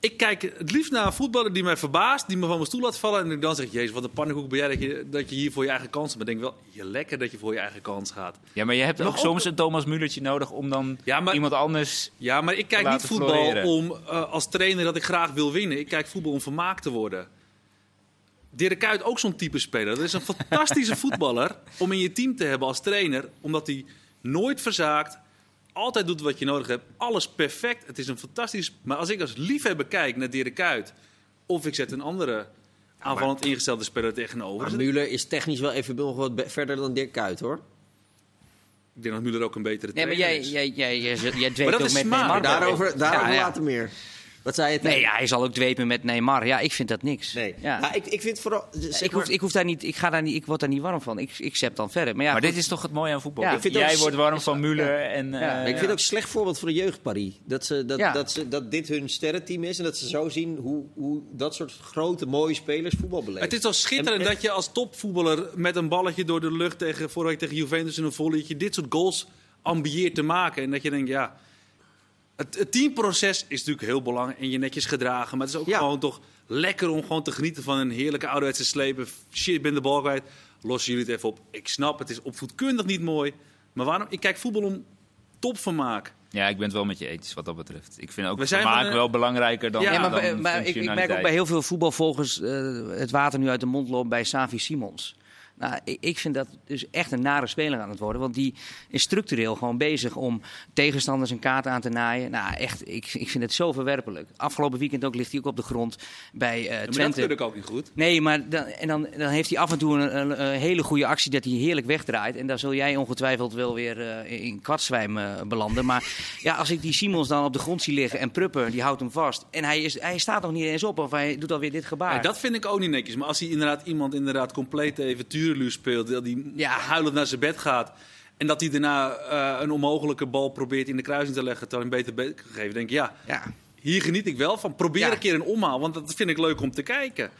Speaker 2: ik kijk het liefst naar een voetballer die mij verbaast, die me van mijn stoel laat vallen. En dan zeg ik, jezus, wat een pannenkoek ben jij dat je, dat je hier voor je eigen kans hebt. Maar ik denk wel, je lekker dat je voor je eigen kans gaat.
Speaker 3: Ja, maar je hebt
Speaker 2: Maar
Speaker 3: ook
Speaker 2: ook-
Speaker 3: soms een Thomas Mullertje nodig om dan
Speaker 2: Ja, maar-
Speaker 3: iemand anders...
Speaker 2: Ja, maar ik kijk niet
Speaker 3: laten
Speaker 2: voetbal
Speaker 3: floreren.
Speaker 2: om eh, als trainer dat ik graag wil winnen. Ik kijk voetbal om vermaakt te worden. Dirk Kuyt ook zo'n type speler. Dat is een fantastische voetballer om in je team te hebben als trainer, omdat hij nooit verzaakt, altijd doet wat je nodig hebt, alles perfect. Het is een fantastisch. Maar als ik als liefhebber kijk naar Dirk Kuyt, of ik zet een andere aanvallend ingestelde speler tegenover,
Speaker 1: Maar
Speaker 2: is het-
Speaker 1: Müller is technisch wel even nog wat be- verder dan Dirk Kuyt, hoor.
Speaker 2: ik denk dat Müller ook een betere
Speaker 4: Nee, maar
Speaker 2: trainer
Speaker 4: jij,
Speaker 2: is.
Speaker 4: jij, jij, jij, jij dweept
Speaker 2: Maar dat
Speaker 4: ook
Speaker 2: is
Speaker 4: met
Speaker 2: smaak.
Speaker 4: Neymar.
Speaker 1: Maar daarover, daarover
Speaker 4: Ja, ja.
Speaker 1: later meer. Wat zei je?
Speaker 4: Nee,
Speaker 1: Tim?
Speaker 4: ja, hij zal ook dwepen met Neymar. Ja, ik vind dat niks.
Speaker 1: Nee.
Speaker 4: Ja.
Speaker 1: Nou, ik, ik vind vooral... zeg
Speaker 4: ik,
Speaker 1: maar-
Speaker 4: hoef, ik, hoef daar niet, ik, ga daar niet, ik word daar niet warm van. Ik, ik zet dan verder. Maar ja,
Speaker 3: maar
Speaker 4: goed.
Speaker 3: dit is toch het mooie aan voetbal?
Speaker 4: Ja.
Speaker 3: Ja,
Speaker 4: Ik
Speaker 1: vind
Speaker 3: Jij
Speaker 1: ook-
Speaker 3: wordt warm van Müller en... eh,
Speaker 4: Ja.
Speaker 1: ik vind het ook een slecht voorbeeld voor de jeugdparie. Dat, ze, dat,
Speaker 4: Ja.
Speaker 1: dat, ze, dat dit hun sterrenteam is en dat ze zo zien hoe, hoe dat soort grote, mooie spelers voetbal beleven.
Speaker 2: Het is al schitterend dat je als topvoetballer met een balletje door de lucht tegen vorige week tegen Juventus in een volleytje dit soort goals ambieert te maken. En dat je denkt, ja, het, het teamproces is natuurlijk heel belangrijk en je netjes gedragen. Maar het is ook
Speaker 1: Ja.
Speaker 2: gewoon toch lekker om gewoon te genieten van een heerlijke ouderwetse slepen. Shit, ik ben de bal kwijt. Lossen jullie het even op. Ik snap, het is opvoedkundig niet mooi. Maar waarom? Ik kijk voetbal om topvermaak.
Speaker 3: Ja, ik ben het wel met je eens wat dat betreft. Ik vind ook
Speaker 2: We
Speaker 3: het
Speaker 2: zijn
Speaker 3: vermaak
Speaker 2: van, eh,
Speaker 3: wel belangrijker dan.
Speaker 2: Ja,
Speaker 4: Ja, maar,
Speaker 3: dan
Speaker 4: bij- maar ik, ik merk ook bij heel veel voetbalvolgers eh, het water nu uit de mond loopt bij Savi Simons. Nou, ik, ik vind dat dus echt een nare speler aan het worden. Want die is structureel gewoon bezig om tegenstanders een kaart aan te naaien. Nou, echt, ik, ik vind het zo verwerpelijk. Afgelopen weekend ook ligt hij ook op de grond bij eh
Speaker 2: Maar dat
Speaker 4: Twente.
Speaker 2: vind ik ook niet goed.
Speaker 4: Nee, maar dan, en dan, dan heeft hij af en toe een, een- een hele goede actie dat hij heerlijk wegdraait. En daar zul jij ongetwijfeld wel weer eh, in kwartzwijm eh, belanden. Maar ja, als ik die Simons dan op de grond zie liggen en Prupper, die houdt hem vast. En hij, is, hij staat nog niet eens op of hij doet alweer dit gebaar.
Speaker 2: Ja, dat vind ik ook niet netjes. Maar als hij inderdaad iemand inderdaad compleet even tureluur speelt, dat hij
Speaker 4: Ja.
Speaker 2: huilend naar zijn bed gaat. En dat hij daarna eh, een onmogelijke bal probeert in de kruising te leggen, terwijl hij hem beter gegeven. Denk ik, ja,
Speaker 4: Ja.
Speaker 2: hier geniet ik wel van. Probeer
Speaker 4: Ja.
Speaker 2: een keer een omhaal, want dat vind ik leuk om te kijken.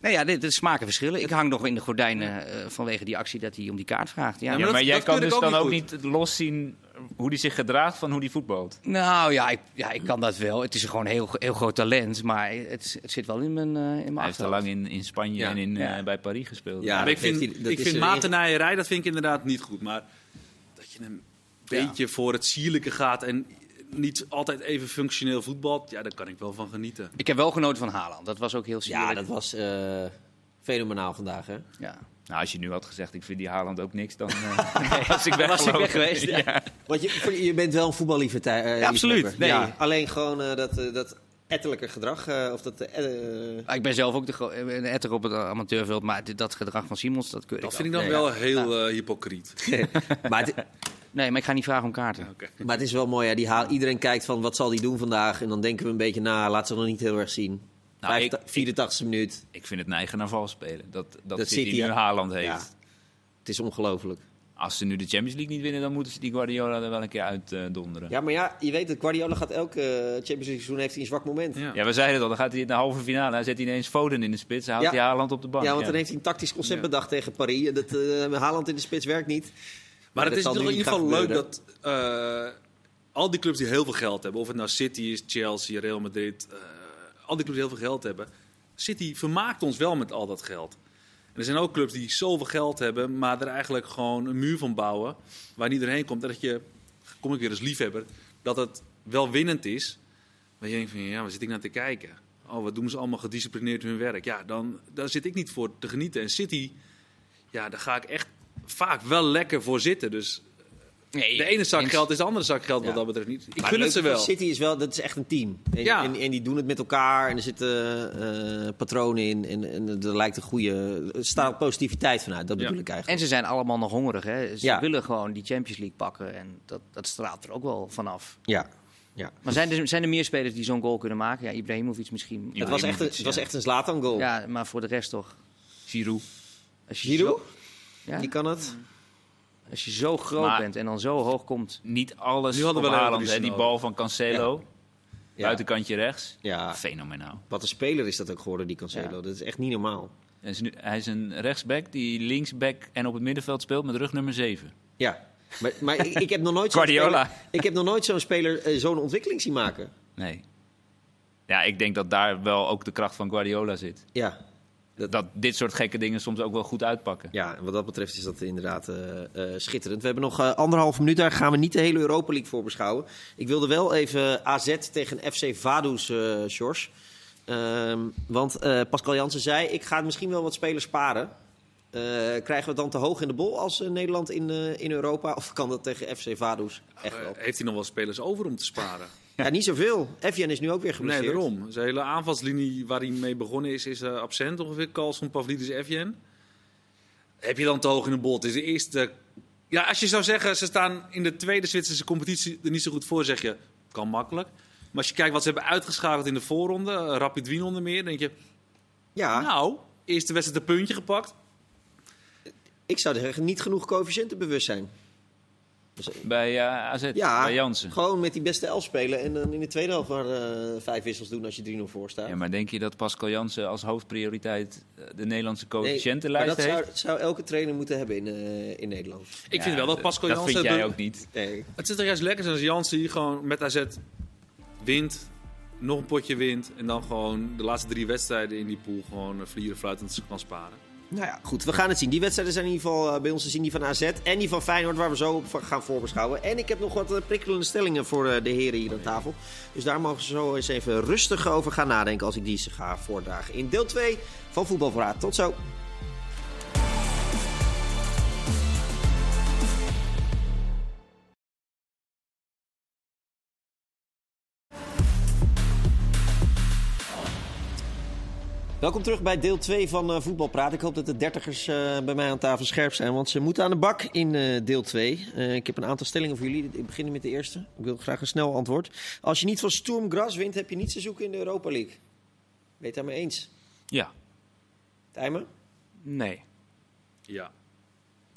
Speaker 4: Nou ja, dit, dit smaken verschillen. Ik hang nog in de gordijnen eh, vanwege die actie dat hij om die kaart vraagt. Ja.
Speaker 2: Ja,
Speaker 3: maar,
Speaker 2: maar dat-
Speaker 3: jij
Speaker 2: dat
Speaker 3: kan
Speaker 2: vind ik
Speaker 3: dus
Speaker 2: ook
Speaker 3: dan
Speaker 2: niet
Speaker 3: ook
Speaker 2: goed.
Speaker 3: niet loszien hoe hij zich gedraagt van hoe hij voetbalt.
Speaker 4: Nou ja ik, ja, ik kan dat wel. Het is gewoon een heel, heel groot talent. Maar het, het zit wel in mijn, eh, in mijn
Speaker 3: Hij heeft al
Speaker 4: achterhoofd.
Speaker 3: lang in, in Spanje
Speaker 1: Ja.
Speaker 3: en in, eh,
Speaker 4: Ja.
Speaker 3: bij Paris gespeeld.
Speaker 1: Ja,
Speaker 2: Maar
Speaker 1: dat
Speaker 2: ik vind,
Speaker 1: heeft hij- dat
Speaker 2: ik
Speaker 1: is
Speaker 2: vind
Speaker 1: een-
Speaker 2: matenaarierij, dat vind ik inderdaad niet goed. Maar dat je een beetje voor het sierlijke gaat en niet altijd even functioneel voetbalt, ja, daar kan ik wel van genieten.
Speaker 4: Ik heb wel genoten van Haaland. Dat was ook heel sierlijk.
Speaker 1: Ja, dat was eh, fenomenaal vandaag, hè?
Speaker 4: Ja.
Speaker 3: Nou, als je nu had gezegd, ik vind die Haaland ook niks, dan eh, was ik weg,
Speaker 4: was ik weg geweest, ja.
Speaker 3: Ja.
Speaker 1: Want je, je bent wel een voetballiever.
Speaker 4: Ja, absoluut. Nee.
Speaker 1: alleen gewoon eh, dat, eh, dat ettelijke gedrag. eh, of dat, eh,
Speaker 4: Ah, Ik ben zelf ook de gro- eh, een etter op het eh, amateurveld, maar dit- dat gedrag van Simons, dat keur
Speaker 2: Dat
Speaker 4: ik
Speaker 2: vind ik
Speaker 4: ook.
Speaker 2: dan wel heel eh, hypocriet.
Speaker 1: maar, het,
Speaker 4: Nee, maar ik ga niet vragen om kaarten.
Speaker 1: maar het is wel mooi. Ja, die haal, iedereen kijkt van wat zal die doen vandaag. En dan denken we een beetje na. Laat ze nog niet heel erg zien.
Speaker 3: Nou,
Speaker 1: Vijfta-
Speaker 3: ik-
Speaker 1: 84e minuut.
Speaker 3: Ik vind het neigen naar vals spelen. Dat, dat,
Speaker 1: Dat
Speaker 3: City
Speaker 1: City-
Speaker 3: nu Haaland heeft.
Speaker 1: Ja. Het is ongelooflijk.
Speaker 3: Als ze nu de Champions League niet winnen, dan moeten ze die Guardiola er wel een keer uit eh, donderen.
Speaker 1: Ja, maar ja, je weet dat Guardiola gaat elke eh, Champions League seizoen heeft hij een zwak moment. Ja,
Speaker 2: Ja.
Speaker 3: Ja, we zeiden het al. Dan gaat hij in de halve finale. Hij zet ineens Foden in de spits. Hij houdt
Speaker 1: Ja.
Speaker 3: die Haaland op de bank.
Speaker 1: want dan heeft hij een tactisch concept
Speaker 3: Ja.
Speaker 1: bedacht tegen Paris. En dat eh, Haaland in de spits werkt niet.
Speaker 2: Maar
Speaker 1: Ja,
Speaker 2: het is
Speaker 1: dat
Speaker 2: toch
Speaker 1: zal
Speaker 2: in
Speaker 1: nu
Speaker 2: ieder
Speaker 1: niet
Speaker 2: geval
Speaker 1: gaan
Speaker 2: leuk dat eh, al die clubs die heel veel geld hebben, of het nou City is, Chelsea, Real Madrid, eh, al die clubs die heel veel geld hebben, City vermaakt ons wel met al dat geld. En er zijn ook clubs die zoveel geld hebben, maar er eigenlijk gewoon een muur van bouwen waar niet doorheen komt. En dat je, kom ik weer als liefhebber, dat het wel winnend is. Maar je denkt van, ja, waar zit ik naar te kijken? Oh, wat doen ze allemaal gedisciplineerd hun werk? Ja, dan, daar zit ik niet voor te genieten. En City, ja, daar ga ik echt vaak wel lekker voor zitten. Dus
Speaker 4: Nee,
Speaker 2: De ene zak
Speaker 4: eens.
Speaker 2: geld is de andere zak geld
Speaker 1: Ja.
Speaker 2: wat dat betreft niet. Ik
Speaker 1: Maar
Speaker 2: gun het
Speaker 1: het
Speaker 2: ze
Speaker 1: leuke
Speaker 2: wel.
Speaker 1: van City is wel, dat is echt een team. En,
Speaker 2: Ja.
Speaker 1: en, en die doen het met elkaar en er zitten eh, patronen in. En, en er lijkt een goede, er staat positiviteit vanuit, dat
Speaker 2: Ja.
Speaker 1: bedoel ik eigenlijk.
Speaker 4: En ze zijn allemaal nog hongerig. Hè? Ze
Speaker 1: Ja.
Speaker 4: willen gewoon die Champions League pakken. En dat, dat straalt er ook wel vanaf.
Speaker 1: Ja. ja.
Speaker 4: Maar zijn er, zijn er meer spelers die zo'n goal kunnen maken? Ja, Ibrahimovic misschien.
Speaker 3: Ja.
Speaker 1: het, was echt een,
Speaker 3: Ibrahimovic,
Speaker 1: het was
Speaker 3: ja.
Speaker 1: echt een Zlatan goal.
Speaker 4: Ja, maar voor de rest toch.
Speaker 3: Giroud.
Speaker 4: Als je
Speaker 1: Giroud,
Speaker 4: zo- ja,
Speaker 1: die kan het.
Speaker 4: als je zo groot
Speaker 3: Maar-
Speaker 4: bent en dan zo hoog komt.
Speaker 3: Niet alles
Speaker 2: Nu
Speaker 3: van
Speaker 2: hadden we wel
Speaker 3: Haaland.
Speaker 2: Rodriguez
Speaker 3: hè. Die
Speaker 2: nodig.
Speaker 3: bal van Cancelo,
Speaker 1: Ja.
Speaker 3: buitenkantje rechts.
Speaker 1: Ja.
Speaker 3: Fenomenaal.
Speaker 1: Wat een speler is dat ook geworden, die Cancelo.
Speaker 4: Ja.
Speaker 1: Dat is echt niet normaal.
Speaker 3: Hij is, nu, hij is een rechtsback die linksback en op het middenveld speelt met rug nummer 7.
Speaker 1: Ja. Maar, maar ik, ik heb nog nooit zo'n
Speaker 3: Guardiola.
Speaker 1: speler, ik heb nog nooit zo'n speler eh, zo'n ontwikkeling zien maken.
Speaker 3: Nee. Ja, ik denk dat daar wel ook de kracht van Guardiola zit.
Speaker 1: Ja. Dat-
Speaker 3: Dat dit soort gekke dingen soms ook wel goed uitpakken.
Speaker 1: Ja, en wat dat betreft is dat inderdaad eh, eh, schitterend. We hebben nog eh, anderhalf minuut, daar gaan we niet de hele Europa League voor beschouwen. Ik wilde wel even AZ tegen FC Vaduz, eh Sjors. Ehm, want eh, Pascal Jansen zei, ik ga misschien wel wat spelers sparen. Eh, krijgen we het dan te hoog in de bol als eh, Nederland in, eh, in Europa? Of kan dat tegen FC Vaduz echt wel?
Speaker 2: Eh, heeft hij nog wel spelers over om te sparen?
Speaker 1: Ja, niet zoveel. Evjen is nu ook weer
Speaker 2: nee,
Speaker 1: geblesseerd.
Speaker 2: daarom. Zijn hele aanvalslinie waar hij mee begonnen is, is eh, absent ongeveer. Carlson, Pavlidis, Evjen. Heb je dan te hoog in de bol? Het is de eerste... Ja, als je zou zeggen, ze staan in de tweede Zwitserse competitie er niet zo goed voor, zeg je, kan makkelijk. Maar als je kijkt wat ze hebben uitgeschakeld in de voorronde, eh, Rapid Wien onder meer, denk je,
Speaker 1: Ja,
Speaker 2: nou, eerste wedstrijd een puntje gepakt.
Speaker 1: ik zou zeggen, niet genoeg Dus, coëfficiëntenbewustzijn.
Speaker 3: Bij eh, AZ,
Speaker 1: Ja,
Speaker 3: bij Jansen.
Speaker 1: gewoon met die beste elf spelen en dan in de tweede helft maar eh, vijf wissels doen als je 3-0 voor staat.
Speaker 3: Ja, maar denk je dat Pascal Jansen als hoofdprioriteit eh, de Nederlandse
Speaker 1: Nee,
Speaker 3: coëfficiëntenlijst
Speaker 1: maar dat
Speaker 3: heeft?
Speaker 1: zou, zou elke trainer moeten hebben in, eh, in Nederland.
Speaker 2: Ik
Speaker 3: Ja,
Speaker 2: vind wel dat Pascal
Speaker 3: Dat
Speaker 2: Jansen...
Speaker 3: vind jij
Speaker 2: de-
Speaker 3: ook niet.
Speaker 1: Nee.
Speaker 2: Het is toch juist lekker als Jansen hier gewoon met AZ wint, nog een potje wint en dan gewoon de laatste drie wedstrijden in die pool gewoon eh, vlieren fluitend kan sparen.
Speaker 1: Nou ja, goed, we gaan het zien. Die wedstrijden zijn in ieder geval eh, bij ons te zien. Die van AZ en die van Feyenoord, waar we zo op gaan voorbeschouwen. En ik heb nog wat eh, prikkelende stellingen voor eh, de heren hier aan tafel. Dus daar mogen ze zo eens even rustig over gaan nadenken als ik die ze ga voordragen. In deel 2 van Voetbalverraad. Tot zo. Welkom terug bij deel 2 van eh Voetbalpraat. Ik hoop dat de dertigers eh, bij mij aan tafel scherp zijn, want ze moeten aan de bak in eh, deel 2. ik heb een aantal stellingen voor jullie. Ik begin met de eerste. Ik wil graag een snel antwoord. Als je niet van Sturm Gras wint, heb je niets te zoeken in de Europa League. Ben je het daarmee eens?
Speaker 3: Ja,
Speaker 1: Tijmen,
Speaker 4: Nee.
Speaker 2: Ja.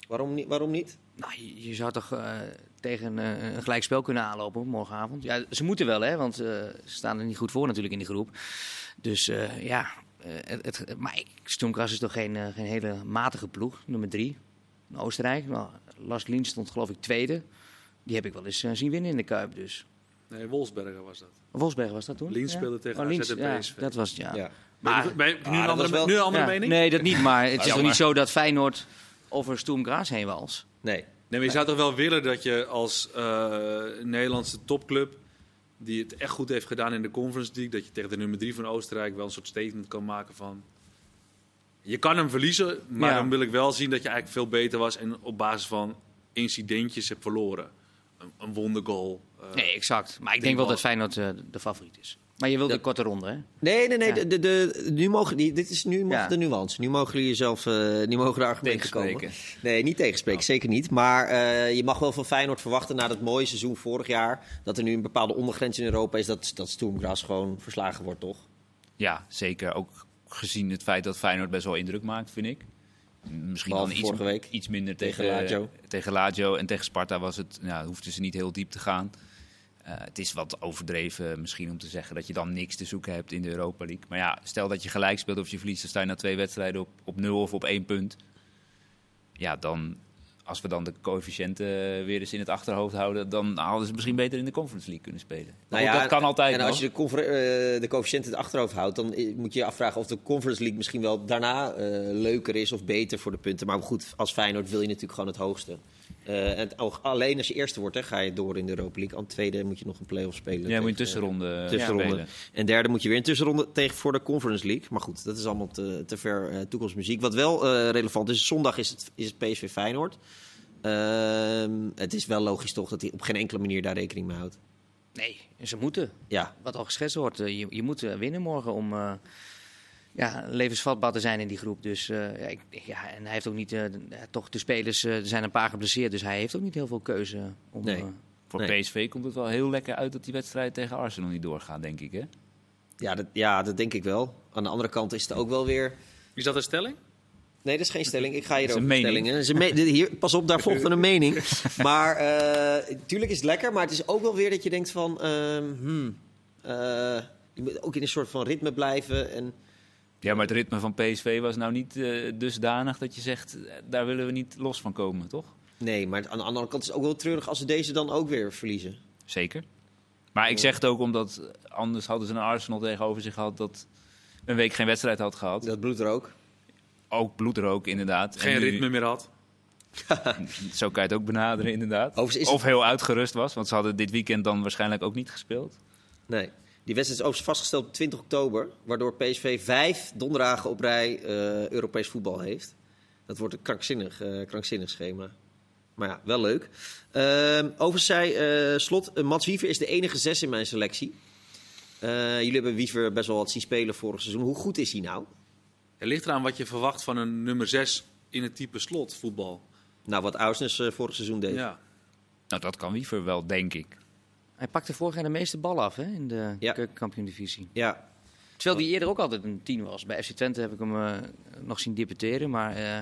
Speaker 1: waarom niet? Waarom niet?
Speaker 4: Nou, je, je zou toch eh, tegen eh, een gelijkspel kunnen aanlopen morgenavond? Ja, ze moeten wel, hè? Want eh, ze staan er niet goed voor natuurlijk in die groep. Dus eh, ja, eh, het, het- maar ik- Stoomkras is toch geen, eh, geen hele matige ploeg. Nummer drie, in Oostenrijk. Nou, Lars Lien stond geloof ik tweede. Die heb ik wel eens eh, zien winnen in de Kuip dus.
Speaker 2: Nee, Wolfsberger was dat.
Speaker 4: Wolfsberg was dat toen?
Speaker 2: Lien
Speaker 4: Ja.
Speaker 2: speelde tegen
Speaker 4: Oh,
Speaker 2: AZ
Speaker 4: Liens,
Speaker 2: en
Speaker 4: ja,
Speaker 2: PSV.
Speaker 4: dat was het, ja.
Speaker 2: Maar, ben je nu
Speaker 1: Ah,
Speaker 2: een
Speaker 1: dat
Speaker 2: andere,
Speaker 1: was wel-
Speaker 2: nu een andere
Speaker 4: Ja,
Speaker 2: mening?
Speaker 4: Nee, dat niet. Maar het is toch
Speaker 3: Jammer.
Speaker 4: niet zo dat Feyenoord over Stoomkras heen was.
Speaker 1: Nee.
Speaker 2: Nee, maar je zou toch wel willen dat je als eh, Nederlandse topclub, die het echt goed heeft gedaan in de Conference League, dat je tegen de nummer drie van Oostenrijk wel een soort statement kan maken van... Je kan hem verliezen, maar
Speaker 4: Ja.
Speaker 2: dan wil ik wel zien dat je eigenlijk veel beter was en op basis van incidentjes hebt verloren. Een, een wondergoal. eh,
Speaker 4: Nee, exact. Maar ik
Speaker 2: drie
Speaker 4: denk wel
Speaker 2: ballen.
Speaker 4: dat Feyenoord eh, de favoriet is. Maar je wilde
Speaker 1: Ja.
Speaker 4: een korte ronde, hè?
Speaker 1: Nee, nee, nee.
Speaker 4: Ja.
Speaker 1: De, de, de- nu mogen, die, dit is nu mag
Speaker 4: Ja.
Speaker 1: de nuance. Nu mogen jullie jezelf eh, nu mogen de argumenten komen.
Speaker 3: Tegenspreken.
Speaker 1: Nee, niet tegenspreken, zeker niet. Maar eh, je mag wel van Feyenoord verwachten na dat mooie seizoen vorig jaar... dat er nu een bepaalde ondergrens in Europa is... dat, dat Stoomgras gewoon verslagen wordt, toch?
Speaker 3: ja, zeker. Ook gezien het feit dat Feyenoord best wel indruk maakt, vind ik. Misschien
Speaker 1: Behalve
Speaker 3: dan iets,
Speaker 1: vorige week
Speaker 3: iets minder
Speaker 1: tegen
Speaker 3: tegen,
Speaker 1: Lazio.
Speaker 3: tegen Lazio. En tegen Sparta was het, nou, hoefden ze niet heel diep te gaan. Eh, het is wat overdreven misschien om te zeggen dat je dan niks te zoeken hebt in de Europa League. Maar ja, stel dat je gelijk speelt of je verliest, dan sta je na twee wedstrijden op, op nul of op één punt. Ja, dan, als we dan de coëfficiënten weer eens in het achterhoofd houden, dan hadden ze misschien beter in de Conference League kunnen spelen. Maar goed,
Speaker 1: Nou ja,
Speaker 3: Nou dat kan altijd
Speaker 1: En als
Speaker 3: nog.
Speaker 1: je de, confer- eh, de coëfficiënt in het achterhoofd houdt... dan eh, moet je je afvragen of de Conference League misschien wel daarna eh, leuker is... of beter voor de punten. Maar goed, als Feyenoord wil je natuurlijk gewoon het hoogste. Eh, en het- ook alleen als je eerste wordt, hè, ga je door in de Europa League. Aan tweede moet je nog een play-off spelen.
Speaker 3: Ja, moet
Speaker 1: tegen-
Speaker 3: je tussenronde,
Speaker 1: tussenronde.
Speaker 3: spelen.
Speaker 1: En derde moet je weer een tussenronde tegen voor de Conference League. Maar goed, dat is allemaal te, te ver eh, toekomstmuziek. Wat wel eh, relevant is, zondag is het, is het PSV Feyenoord. Ehm, het is wel logisch toch dat hij op geen enkele manier daar rekening mee houdt.
Speaker 4: Nee, ze moeten.
Speaker 1: Ja,
Speaker 4: Wat al geschetst wordt, eh, je, je moet eh, winnen morgen om eh, ja, levensvatbaar te zijn in die groep. Dus, eh, ja, ik, ja, en hij heeft ook niet, eh, de- ja, toch de spelers, eh, er zijn een paar geblesseerd, dus hij heeft ook niet heel veel keuze om...
Speaker 1: Nee.
Speaker 4: eh,
Speaker 3: Voor
Speaker 1: Nee.
Speaker 3: PSV komt het wel heel lekker uit dat die wedstrijd tegen Arsenal niet doorgaat, denk ik. Hè?
Speaker 1: ja, dat, ja, dat denk ik wel. Aan de andere kant is het ook wel weer...
Speaker 2: Is dat een stelling?
Speaker 1: Nee, dat is geen stelling. Ik ga hier
Speaker 3: is
Speaker 1: ook
Speaker 3: een mening.
Speaker 1: stellingen. Dat is een me- dit- hier, pas op, daar volgt een mening. Maar eh tuurlijk is het lekker, maar het is ook wel weer dat je denkt van... ehm, hmm, eh, je moet ook in een soort van ritme blijven. En,
Speaker 3: Ja, maar het ritme van PSV was nou niet eh, dusdanig dat je zegt, eh, daar willen we niet los van komen, toch?
Speaker 1: nee, maar aan de andere kant is het ook wel treurig als ze deze dan ook weer verliezen.
Speaker 3: Zeker. Maar ik zeg het ook omdat eh, anders hadden ze een Arsenal tegenover zich gehad dat een week geen wedstrijd had gehad.
Speaker 1: Dat bloedt er ook.
Speaker 3: Ook bloedrook, inderdaad.
Speaker 2: Geen
Speaker 3: En nu-
Speaker 2: ritme meer had.
Speaker 3: Zo kan je het ook benaderen, inderdaad.
Speaker 1: Overigens is het-
Speaker 3: Of heel uitgerust was, want ze hadden dit weekend dan waarschijnlijk ook niet gespeeld.
Speaker 1: Nee. Die wedstrijd is overigens vastgesteld op 20 oktober, waardoor PSV vijf donderdagen op rij eh, Europees voetbal heeft. Dat wordt een krankzinnig, eh, krankzinnig schema. Maar ja, wel leuk. Ehm overigens zei eh, Slot, eh, Mats Wiever is de enige zes in mijn selectie. Eh, jullie hebben Wiever best wel wat zien spelen vorig seizoen. Hoe goed is hij nou?
Speaker 2: Het ligt eraan wat je verwacht van een nummer 6 in het type slot voetbal.
Speaker 1: Nou, wat Ausnes eh, vorig seizoen deed.
Speaker 2: Ja.
Speaker 3: Nou, dat kan Wiever wel, denk ik.
Speaker 4: Hij pakte vorig jaar de meeste ballen af hè, in de
Speaker 1: Ja.
Speaker 4: keukenkampioen-divisie. Oh.
Speaker 1: Ja.
Speaker 4: Terwijl die eerder ook altijd een 10 was. Bij FC Twente heb ik hem eh, nog zien debuteren, maar eh,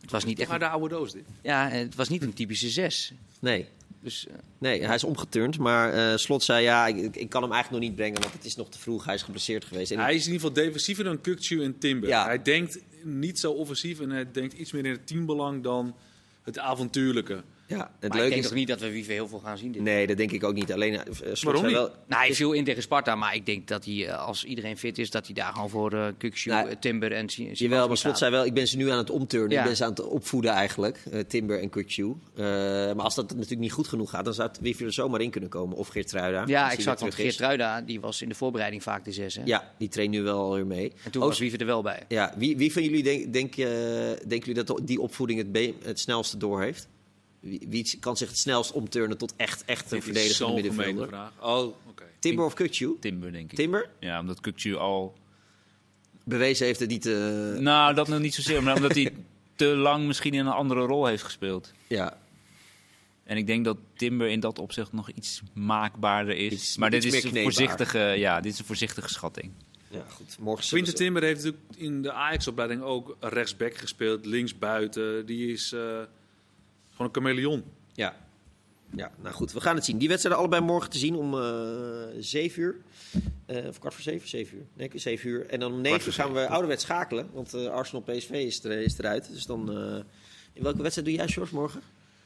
Speaker 4: het, was niet echt,
Speaker 2: Maar de oude doos dit.
Speaker 4: ja, eh, het was niet een typische zes.
Speaker 1: Nee.
Speaker 4: Dus eh,
Speaker 1: Nee, hij is omgeturnd. Maar eh, Slot zei, ja, ik, ik kan hem eigenlijk nog niet brengen, want het is nog te vroeg. Hij is geblesseerd geweest. En ik-
Speaker 2: Hij is in ieder geval defensiever dan Kukcu en Timber.
Speaker 1: Ja.
Speaker 2: Hij denkt niet zo offensief en hij denkt iets meer in het teambelang dan het avontuurlijke.
Speaker 1: ja, het
Speaker 4: maar ik
Speaker 1: leuke
Speaker 4: denk
Speaker 1: is...
Speaker 4: toch niet dat we Wiever heel veel gaan zien dit
Speaker 1: Nee, dat denk ik ook niet. Alleen eh, Slot
Speaker 2: Waarom
Speaker 1: zei
Speaker 2: niet?
Speaker 1: wel.
Speaker 4: Nou, hij viel in tegen Sparta, maar ik denk dat hij, eh, als iedereen fit is, dat hij daar gewoon voor eh Kukzu,
Speaker 1: Nou,
Speaker 4: eh, Timber en Si- Simons
Speaker 1: Jawel, maar
Speaker 4: moet
Speaker 1: Slot
Speaker 4: gaan.
Speaker 1: zei wel, ik ben ze nu aan het omturnen.
Speaker 4: Ja.
Speaker 1: Ik ben ze aan het opvoeden eigenlijk, eh, Timber en Kutju. maar als dat natuurlijk niet goed genoeg gaat, dan zou het Wiever er zomaar in kunnen komen. Of Geert Ruida.
Speaker 4: Ja, exact, want Geert Ruida, die was in de voorbereiding vaak de zes, hè?
Speaker 1: Ja, die traint nu wel weer mee.
Speaker 4: En toen
Speaker 1: Oh,
Speaker 4: was Wiever er wel bij.
Speaker 1: ja, wie, wie van jullie denk, denk, eh, denken jullie dat die opvoeding het, be- het snelste door heeft? Wie, wie kan zich het snelst omturnen tot echt, echt een
Speaker 2: Dit is
Speaker 1: verdedigende
Speaker 2: zo'n gemene
Speaker 1: middenvelder?
Speaker 2: vraag. Oh, oké.
Speaker 1: Timber of Kutju?
Speaker 3: Timber, denk ik.
Speaker 1: Timber
Speaker 3: Ja, omdat Kukcu al...
Speaker 1: bewezen heeft het niet. eh
Speaker 3: Nou, dat nog niet zozeer, maar omdat hij te lang misschien in een andere rol heeft gespeeld.
Speaker 1: ja,
Speaker 3: En ik denk dat Timber in dat opzicht nog iets maakbaarder is.
Speaker 1: Iets-
Speaker 3: maar dit
Speaker 1: iets
Speaker 3: is,
Speaker 1: meer
Speaker 3: een
Speaker 1: kneedbaar.
Speaker 3: voorzichtige, ja, dit is een voorzichtige schatting.
Speaker 1: ja, goed. Morgen zullen
Speaker 2: Quinten
Speaker 1: ze-
Speaker 2: Timber heeft natuurlijk in de Ajax-opleiding ook rechtsback gespeeld, linksbuiten. Die is eh, gewoon een chameleon.
Speaker 1: Ja. Ja, nou goed, we gaan het zien. Die wedstrijden allebei morgen te zien om eh 7 uur. Eh, of kwart voor 7? 7 uur. Nee, 7 uur. En dan om 9 uur gaan we ouderwets schakelen. Want eh, Arsenal PSV is, er, is eruit. Dus dan. eh, in welke wedstrijd doe jij, George, morgen?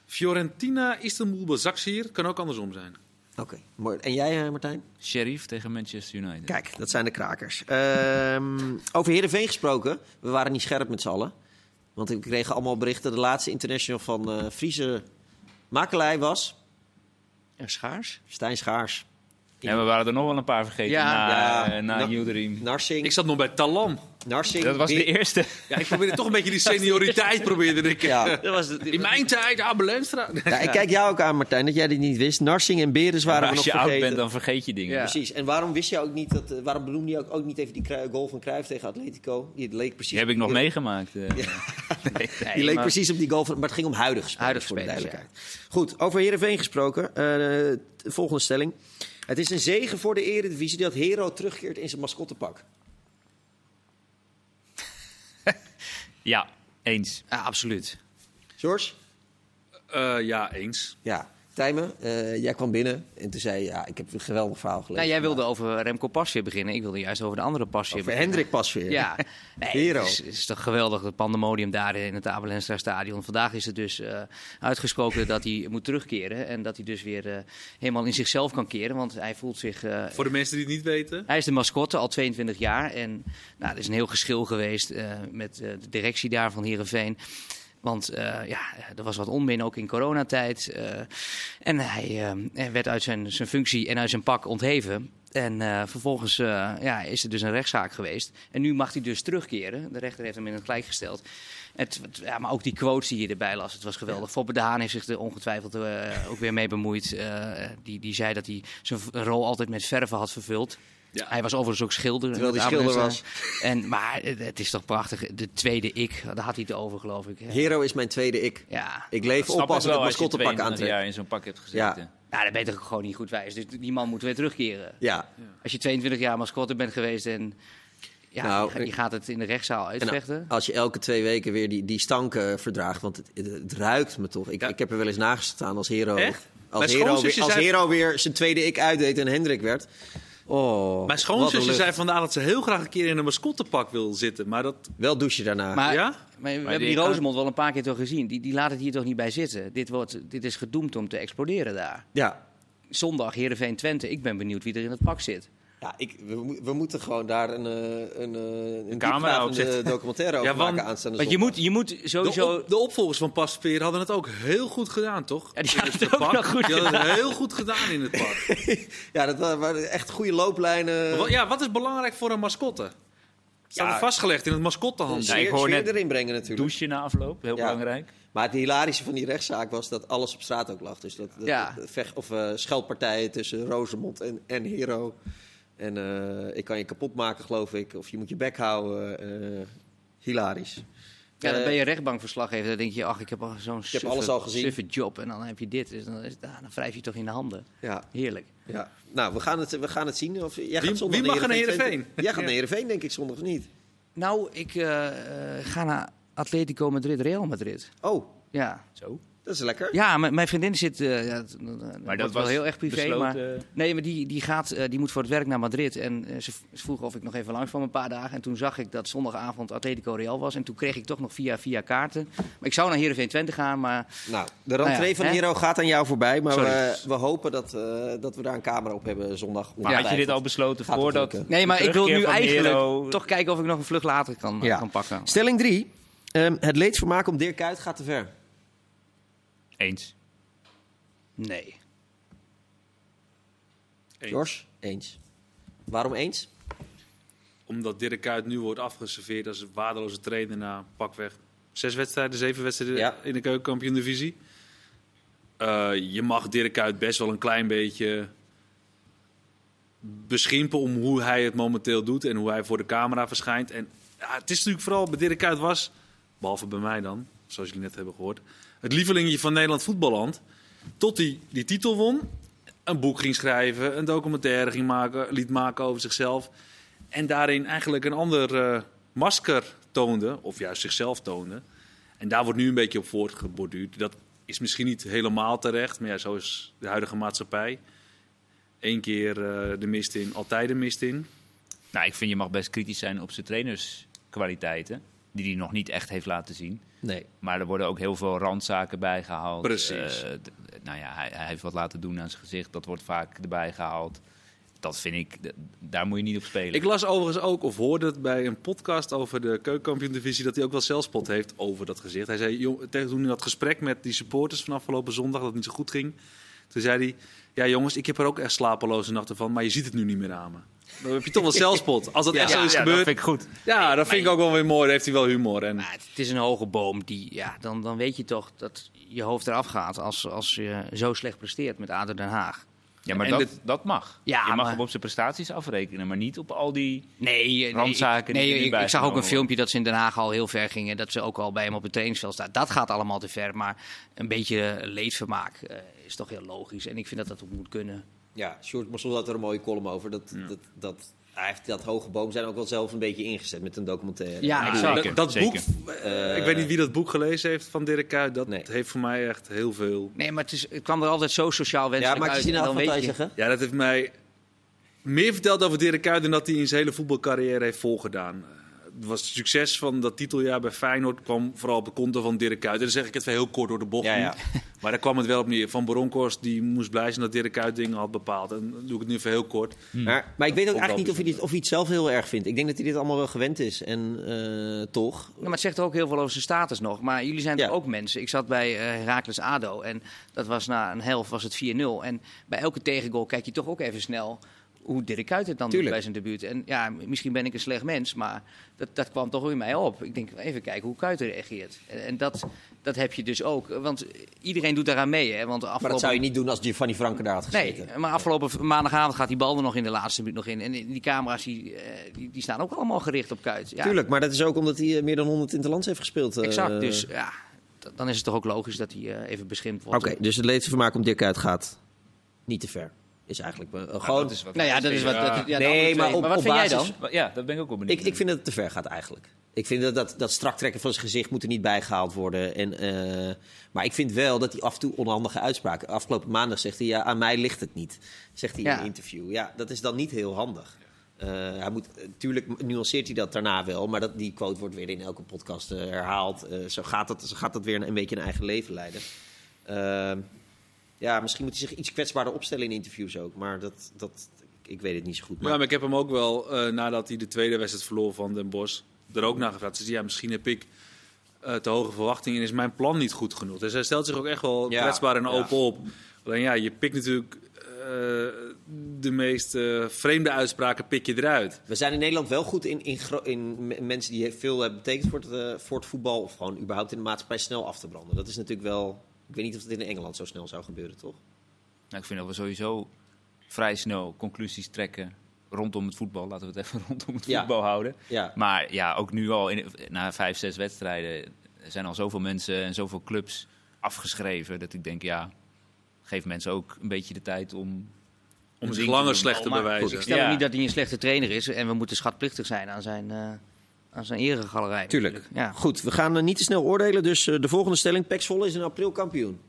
Speaker 2: Fiorentina, Istanbul, Basaksehir. Kan ook andersom zijn.
Speaker 1: Oké. En jij, eh, Martijn?
Speaker 3: Sheriff tegen Manchester United.
Speaker 1: Kijk, dat zijn de krakers. Ehm, over Heerenveen gesproken. We waren niet scherp met z'n allen. Want we kregen allemaal berichten. De laatste international van eh Friese Makelij was
Speaker 4: En Schaars?
Speaker 1: Stijn Schaars.
Speaker 3: En we waren er nog wel een paar vergeten
Speaker 4: Ja.
Speaker 3: na,
Speaker 1: Ja.
Speaker 3: eh, na
Speaker 1: Nou,
Speaker 3: New Dream.
Speaker 1: Narsing.
Speaker 2: Ik zat nog bij Talam.
Speaker 1: Narsing.
Speaker 3: Dat was
Speaker 1: Wie-
Speaker 3: de eerste.
Speaker 2: Ja, ik probeerde toch een beetje die senioriteit probeerde ik. eh,
Speaker 1: Ja.
Speaker 4: Dat was het.
Speaker 2: In mijn tijd, Abel Enstra.
Speaker 1: Ja, ik kijk jou ook aan, Martijn, dat jij dit niet wist. Narsing en Beres waren
Speaker 3: Maar
Speaker 1: we nog
Speaker 3: als je
Speaker 1: vergeten.
Speaker 3: oud bent, dan vergeet je dingen.
Speaker 4: Ja.
Speaker 1: Precies. En waarom wist je ook niet dat? eh, waarom benoemde je ook, ook niet even die Cru- goal van Cruijff tegen Atletico? Die leek precies.
Speaker 3: Die heb ik nog
Speaker 1: die-
Speaker 3: meegemaakt. eh.
Speaker 4: Nee,
Speaker 1: Die leek
Speaker 4: maar-
Speaker 1: precies op die goal van. Maar het ging om huidige spelers.
Speaker 4: Huidige
Speaker 1: voor de
Speaker 4: spelers,
Speaker 1: duidelijkheid. Goed. Over Heerenveen gesproken. eh, de volgende stelling. Het is een zegen voor de Eredivisie dat Hero terugkeert in zijn mascottepak.
Speaker 3: Ja, eens.
Speaker 4: Ja, absoluut.
Speaker 1: George?
Speaker 2: Eh, ja, eens.
Speaker 1: Ja. Tijmen, eh, jij kwam binnen en toen zei je, ja, ik heb een geweldig verhaal gelezen.
Speaker 4: Nou, jij wilde over Remco Pasveer beginnen. Ik wilde juist over de andere Pasveer
Speaker 1: Over
Speaker 4: beginnen.
Speaker 1: Hendrik pas weer.
Speaker 4: Ja, nee,
Speaker 1: Hero.
Speaker 4: Het, is, het is toch geweldig, het pandemonium daar in het Abel Enstra Stadion. Vandaag is het dus eh, uitgesproken dat hij moet terugkeren. En dat hij dus weer eh, helemaal in zichzelf kan keren. Want hij voelt zich... eh,
Speaker 2: Voor de mensen die het niet weten.
Speaker 4: hij is de mascotte al 22 jaar. En nou, er is een heel geschil geweest eh, met eh, de directie daar van Heerenveen. Want eh, ja, er was wat onmin ook in coronatijd. eh, en hij eh, werd uit zijn, zijn functie en uit zijn pak ontheven. En eh, vervolgens eh, ja, is er dus een rechtszaak geweest. En nu mag hij dus terugkeren. De rechter heeft hem in het gelijk gesteld. En Het, het- ja, maar ook die quotes die je erbij las, het was geweldig. Foppe de Haan heeft zich er ongetwijfeld eh, ook weer mee bemoeid. Eh, die, die zei dat hij zijn v- rol altijd met verven had vervuld.
Speaker 2: Ja.
Speaker 4: Hij was overigens ook schilder.
Speaker 1: Terwijl hij
Speaker 4: Het
Speaker 1: schilder
Speaker 4: Abel-
Speaker 1: was.
Speaker 4: En, maar het, het is toch prachtig. De tweede ik, daar had hij het over, geloof ik.
Speaker 1: Hero is mijn tweede ik.
Speaker 4: Ja,
Speaker 1: Ik leef
Speaker 3: Snap ik
Speaker 1: oppassen met
Speaker 3: wel als je
Speaker 1: mascottepak aan te
Speaker 3: 32
Speaker 1: trekken.
Speaker 3: jaar in zo'n pak hebt gezeten.
Speaker 1: Ja.
Speaker 4: nou, dat ben je toch gewoon niet goed wijs. Dus die man moet weer terugkeren.
Speaker 1: Ja.
Speaker 4: Als je 22 jaar mascotte bent geweest en ja,
Speaker 1: Nou,
Speaker 4: je, ga- je gaat het in de rechtszaal
Speaker 1: En nou,
Speaker 4: uitvechten.
Speaker 1: als je elke twee weken weer die, die stanken verdraagt, want het, het, het ruikt me toch. Ik,
Speaker 2: Ja.
Speaker 1: ik heb er wel eens nagestaan als Hero.
Speaker 2: Echt? Mijn
Speaker 1: Als, hero weer,
Speaker 2: schoonzusje
Speaker 1: als
Speaker 2: zei-
Speaker 1: hero weer zijn tweede ik uitdeed en Hendrik werd. Oh,
Speaker 2: Mijn
Speaker 1: wat een
Speaker 2: schoonzusje
Speaker 1: lucht.
Speaker 2: zei vandaag dat ze heel graag een keer in een mascottepak wil zitten. Maar dat...
Speaker 1: Wel douchen daarna.
Speaker 4: maar,
Speaker 2: ja?
Speaker 4: maar we hebben
Speaker 3: die
Speaker 4: die
Speaker 3: kan-
Speaker 4: Rozemond wel een paar keer toch gezien. Die, die laat het hier toch niet bij zitten. Dit, wordt, dit is gedoemd om te exploderen daar.
Speaker 1: ja.
Speaker 4: Zondag Heerenveen Twente. Ik ben benieuwd wie er in het pak zit.
Speaker 1: Ja, ik, we, mo- we moeten gewoon daar een, eh, een, eh, een
Speaker 3: camera op
Speaker 1: diepgravende
Speaker 3: zetten.
Speaker 1: documentaire over
Speaker 2: Ja, want-
Speaker 1: maken aanstaande
Speaker 4: Want je
Speaker 1: zondag.
Speaker 4: moet, je moet
Speaker 2: De,
Speaker 4: sowieso...
Speaker 2: op- de opvolgers van Pasveer hadden het ook heel goed gedaan, toch?
Speaker 4: Ja, die
Speaker 2: In
Speaker 4: hadden
Speaker 2: het
Speaker 4: het ook
Speaker 2: pak.
Speaker 4: nog goed
Speaker 2: Die hadden het heel goed gedaan in het pak.
Speaker 1: Ja, dat wa- waren echt goede looplijnen.
Speaker 4: Eh.
Speaker 2: Maar wat- Ja, wat is belangrijk voor een mascotte? Staat
Speaker 1: Ja.
Speaker 2: er vastgelegd in het mascottenhandel.
Speaker 1: sfeer,
Speaker 3: ik hoor
Speaker 1: sfeer
Speaker 3: net
Speaker 1: erin brengen natuurlijk.
Speaker 3: Douchen na afloop, heel
Speaker 1: Ja.
Speaker 3: belangrijk.
Speaker 1: Maar het hilarische van die rechtszaak was dat alles op straat ook lag. Dus dat, dat-
Speaker 4: Ja.
Speaker 1: dat vecht, of, eh, scheldpartijen tussen Rosemond en, en Hero. En eh, ik kan je kapot maken, geloof ik. Of je moet je bek houden. eh, hilarisch.
Speaker 4: Ja, dan
Speaker 1: Eh,
Speaker 4: ben je rechtbankverslaggever. Dan denk je, ach, ik heb al zo'n suffe,
Speaker 1: alles al gezien.
Speaker 4: suffe job. En dan heb je dit. Dus dan, is, ah, dan wrijf je toch in de handen.
Speaker 1: Eh, Ja,
Speaker 4: Heerlijk.
Speaker 1: ja. Nou, we gaan het, we gaan het zien. Of, jij gaat zondag
Speaker 2: wie mag
Speaker 1: naar
Speaker 2: naar
Speaker 1: Heerenveen?
Speaker 2: Heerenveen?
Speaker 1: Jij gaat
Speaker 2: Ja.
Speaker 1: naar Heerenveen, denk ik, zondag of niet?
Speaker 4: Nou, ik eh, eh, ga naar Atletico Madrid, Real Madrid.
Speaker 1: Oh,
Speaker 4: Ja,
Speaker 3: Zo.
Speaker 1: dat is lekker.
Speaker 4: ja m- mijn vriendin zit. eh, ja, t- dat
Speaker 3: Maar
Speaker 4: wordt
Speaker 3: dat
Speaker 4: wel
Speaker 3: was
Speaker 4: heel erg privé.
Speaker 3: besloten,
Speaker 4: maar,
Speaker 3: eh.
Speaker 4: nee, maar die, die, gaat, eh, die moet voor het werk naar Madrid. En eh, ze, v- ze vroeg of ik nog even langs kwam een paar dagen. En toen zag ik dat zondagavond Atletico Real was. En toen kreeg ik toch nog via, via kaarten. Maar ik zou naar Heerenveen Twente gaan, maar
Speaker 1: Nou, de rentree
Speaker 4: Nou ja,
Speaker 1: van
Speaker 4: hè?
Speaker 1: Hero gaat aan jou voorbij. Maar
Speaker 4: Sorry.
Speaker 1: we, we hopen dat, eh, dat we daar een camera op hebben zondag.
Speaker 3: Maar had je dit al besloten
Speaker 1: Gaat het
Speaker 3: voordat...
Speaker 1: lukken?
Speaker 4: Nee, maar
Speaker 3: de
Speaker 4: ik wil nu
Speaker 3: terugkeer van
Speaker 4: eigenlijk
Speaker 3: Nero-
Speaker 4: toch kijken of ik nog een vlucht later kan,
Speaker 1: Ja.
Speaker 4: kan pakken.
Speaker 1: Stelling 3. het leedvermaak om Dirk Kuyt gaat te ver.
Speaker 3: Eens.
Speaker 4: Nee.
Speaker 2: Eens.
Speaker 1: Jors? Eens. Waarom eens?
Speaker 2: Omdat Dirk Kuyt nu wordt afgeserveerd als een waardeloze trainer na pakweg zes wedstrijden, zeven wedstrijden
Speaker 1: Ja.
Speaker 2: in de keukenkampioen divisie. je mag Dirk Kuyt best wel een klein beetje beschimpen om hoe hij het momenteel doet en hoe hij voor de camera verschijnt. En ja, het is natuurlijk vooral bij Dirk Kuyt was, behalve bij mij dan, zoals jullie net hebben gehoord, het lievelingje van Nederland voetballand. Tot hij die titel won, een boek ging schrijven, een documentaire ging maken, liet maken over zichzelf. En daarin eigenlijk een ander eh, masker toonde, of juist zichzelf toonde. En daar wordt nu een beetje op voortgeborduurd. Dat is misschien niet helemaal terecht, maar ja, zo is de huidige maatschappij. Eén keer eh, de mist in, altijd de mist in.
Speaker 3: Nou, ik vind je mag best kritisch zijn op zijn trainerskwaliteiten. Die hij nog niet echt heeft laten zien.
Speaker 1: Nee.
Speaker 3: Maar er worden ook heel veel randzaken bijgehaald.
Speaker 2: Precies.
Speaker 3: Eh, d- nou ja, hij, hij heeft wat laten doen aan zijn gezicht. Dat wordt vaak erbij gehaald. Dat vind ik, d- daar moet je niet op spelen.
Speaker 2: Ik las overigens ook, of hoorde het bij een podcast over de keukenkampioen-divisie, dat hij ook wel zelfspot heeft over dat gezicht. Hij zei, jong, tegen toen hij dat gesprek met die supporters van afgelopen zondag, dat het niet zo goed ging. Toen zei hij, ja jongens, ik heb er ook echt slapeloze nachten van, maar je ziet het nu niet meer aan me. Dan heb je toch wel zelfspot. Als dat echt zo is
Speaker 3: dat
Speaker 2: gebeurd,
Speaker 3: vind ik goed.
Speaker 2: ja, dat vind ik ook wel weer mooi. Dan heeft hij wel humor. En,
Speaker 4: Maar het, het is een hoge boom. Die, ja, dan, dan weet je toch dat je hoofd eraf gaat als, als je zo slecht presteert met ADO Den Haag.
Speaker 3: Ja, maar
Speaker 2: En
Speaker 3: dat,
Speaker 2: dit-
Speaker 3: dat mag.
Speaker 4: Ja,
Speaker 3: je mag
Speaker 4: maar-
Speaker 3: hem op zijn prestaties afrekenen, maar niet op al die...
Speaker 4: Nee, eh, nee,
Speaker 3: Randzaken
Speaker 4: nee,
Speaker 3: die er
Speaker 4: ik-
Speaker 3: nu
Speaker 4: ik, zag ook een
Speaker 3: bijgenomen
Speaker 4: filmpje dat ze in Den Haag al heel ver gingen. Dat ze ook al bij hem op het trainingsveld staan. Dat gaat allemaal te ver. Maar een beetje leedvermaak eh, is toch heel logisch. En ik vind dat dat ook moet kunnen.
Speaker 1: Ja, Sjoerd Mossel had er een mooie column over. Dat, dat, dat, hij heeft dat hoge boom zijn ook wel zelf een beetje ingezet met een documentaire.
Speaker 4: Ja,
Speaker 3: Ah,
Speaker 4: exact.
Speaker 3: zeker,
Speaker 2: dat
Speaker 3: zeker.
Speaker 2: boek, eh, ik weet niet wie dat boek gelezen heeft van Dirk Kuyt, dat
Speaker 1: Nee.
Speaker 2: heeft voor mij echt heel veel...
Speaker 4: Nee, maar het, is, het kwam er altijd zo sociaal
Speaker 1: ja
Speaker 4: wenselijk
Speaker 1: maar
Speaker 4: uit.
Speaker 1: ik zie
Speaker 4: en
Speaker 1: nou
Speaker 4: dan
Speaker 1: wat hij
Speaker 4: weet je-
Speaker 1: zeggen.
Speaker 2: Ja, dat heeft mij meer verteld over Dirk Kuyt dan dat hij in zijn hele voetbalcarrière heeft volgedaan. Eh, Het was het succes van dat titeljaar bij Feyenoord kwam vooral op de konto van Dirk Kuyt. En dan zeg ik het wel heel kort door de bocht
Speaker 1: Ja,
Speaker 2: nu.
Speaker 1: ja.
Speaker 2: Maar daar kwam het wel op neer. Van Bronkhorst die moest blij zijn dat Dirk Kuyt dingen had bepaald. En dan doe ik het nu even heel kort.
Speaker 4: Hmm.
Speaker 1: Maar, maar ik weet ook
Speaker 2: Ook wel
Speaker 1: eigenlijk niet of hij, dit, of hij het zelf heel erg vindt. Ik denk dat hij dit allemaal wel gewend is. En eh, toch.
Speaker 4: Ja, maar het zegt ook heel veel over zijn status nog. Maar jullie zijn
Speaker 1: Ja.
Speaker 4: toch ook mensen. Ik zat bij eh Heracles ADO en dat was na een helft was het 4-0. En bij elke tegengoal kijk je toch ook even snel hoe Dirk Kuyt het dan doet
Speaker 1: Tuurlijk.
Speaker 4: bij zijn debuut. En ja, m- misschien ben ik een slecht mens, maar dat, dat kwam toch weer in mij op. Ik denk, even kijken hoe Kuyt reageert. En, en dat, dat heb je dus ook. Want iedereen doet daaraan mee, hè. Want de
Speaker 5: Maar
Speaker 4: afgelopen...
Speaker 5: dat zou je niet doen als Giovanni Franken daar had gezeten.
Speaker 4: Nee, maar afgelopen v- maandagavond gaat die bal er nog in de laatste minuut nog in. En die camera's die, eh, die, die staan ook allemaal gericht op Kuyt. Ja,
Speaker 1: Tuurlijk, maar dat is ook omdat hij eh, meer dan 100 interlands heeft gespeeld. eh.
Speaker 4: Exact, dus ja, d- dan is het toch ook logisch dat hij eh, even beschimpt
Speaker 1: Oké,
Speaker 4: wordt.
Speaker 1: dus het leedvermaak om Dirk uit gaat niet te ver. Is eigenlijk eh, gewoon...
Speaker 3: dat is wat
Speaker 4: Nou ja, dat is wat... dat- ja, de
Speaker 1: Nee,
Speaker 4: andere
Speaker 1: maar
Speaker 4: twee.
Speaker 1: op-
Speaker 4: wat
Speaker 1: op
Speaker 4: vind jij
Speaker 1: basis-
Speaker 4: dan?
Speaker 3: Ja, dat ben ik ook wel benieuwd.
Speaker 1: ik, ik vind dat het te ver gaat eigenlijk. Ik vind dat dat, dat strak trekken van zijn gezicht moet er niet bijgehaald worden. En, eh, maar ik vind wel dat hij af en toe onhandige uitspraken... Afgelopen maandag zegt hij, ja, aan mij ligt het niet. Zegt hij in
Speaker 4: Ja.
Speaker 1: een interview. Ja, dat is dan niet heel handig. Eh, hij moet, natuurlijk nuanceert hij dat daarna wel, maar dat, die quote wordt weer in elke podcast eh, herhaald. Eh, zo, gaat dat, zo gaat dat weer een, een beetje een eigen leven leiden. Ehm, ja, misschien moet hij zich iets kwetsbaarder opstellen in interviews ook. Maar dat, dat, ik weet het niet zo goed.
Speaker 2: Ja, maar ik heb hem ook wel, eh, nadat hij de tweede wedstrijd verloor van Den Bosch, er ook naar gevraagd. Dus ja, misschien heb ik eh, te hoge verwachtingen en is mijn plan niet goed genoeg. Dus hij stelt zich ook echt wel
Speaker 1: Ja,
Speaker 2: kwetsbaar en
Speaker 1: ja.
Speaker 2: open op. Alleen ja, je pikt natuurlijk eh, de meest eh, vreemde uitspraken pik je eruit.
Speaker 1: We zijn in Nederland wel goed in, in, gro- in m- mensen die veel hebben betekend voor het, eh, voor het voetbal. Of gewoon überhaupt in de maatschappij snel af te branden. Dat is natuurlijk wel. Ik weet niet of dat in Engeland zo snel zou gebeuren, toch?
Speaker 3: Nou, ik vind dat we sowieso vrij snel conclusies trekken rondom het voetbal. Laten we het even rondom het
Speaker 1: Ja.
Speaker 3: voetbal houden.
Speaker 1: Ja.
Speaker 3: Maar ja, ook nu al, in, na vijf, zes wedstrijden, zijn al zoveel mensen en zoveel clubs afgeschreven. Dat ik denk, ja, geef mensen ook een beetje de tijd om...
Speaker 2: Om zich
Speaker 3: ding
Speaker 2: langer
Speaker 3: te doen.
Speaker 2: slecht te
Speaker 3: Oh, maar
Speaker 2: bewijzen.
Speaker 4: Ik stel
Speaker 3: Ja.
Speaker 4: ook niet dat hij een slechte trainer is. En we moeten schatplichtig zijn aan zijn, eh aan zijn eregalerij.
Speaker 1: Tuurlijk.
Speaker 4: Ja.
Speaker 1: Goed, we gaan eh, niet te snel oordelen. Dus eh, de volgende stelling: Pax Volle is in april kampioen.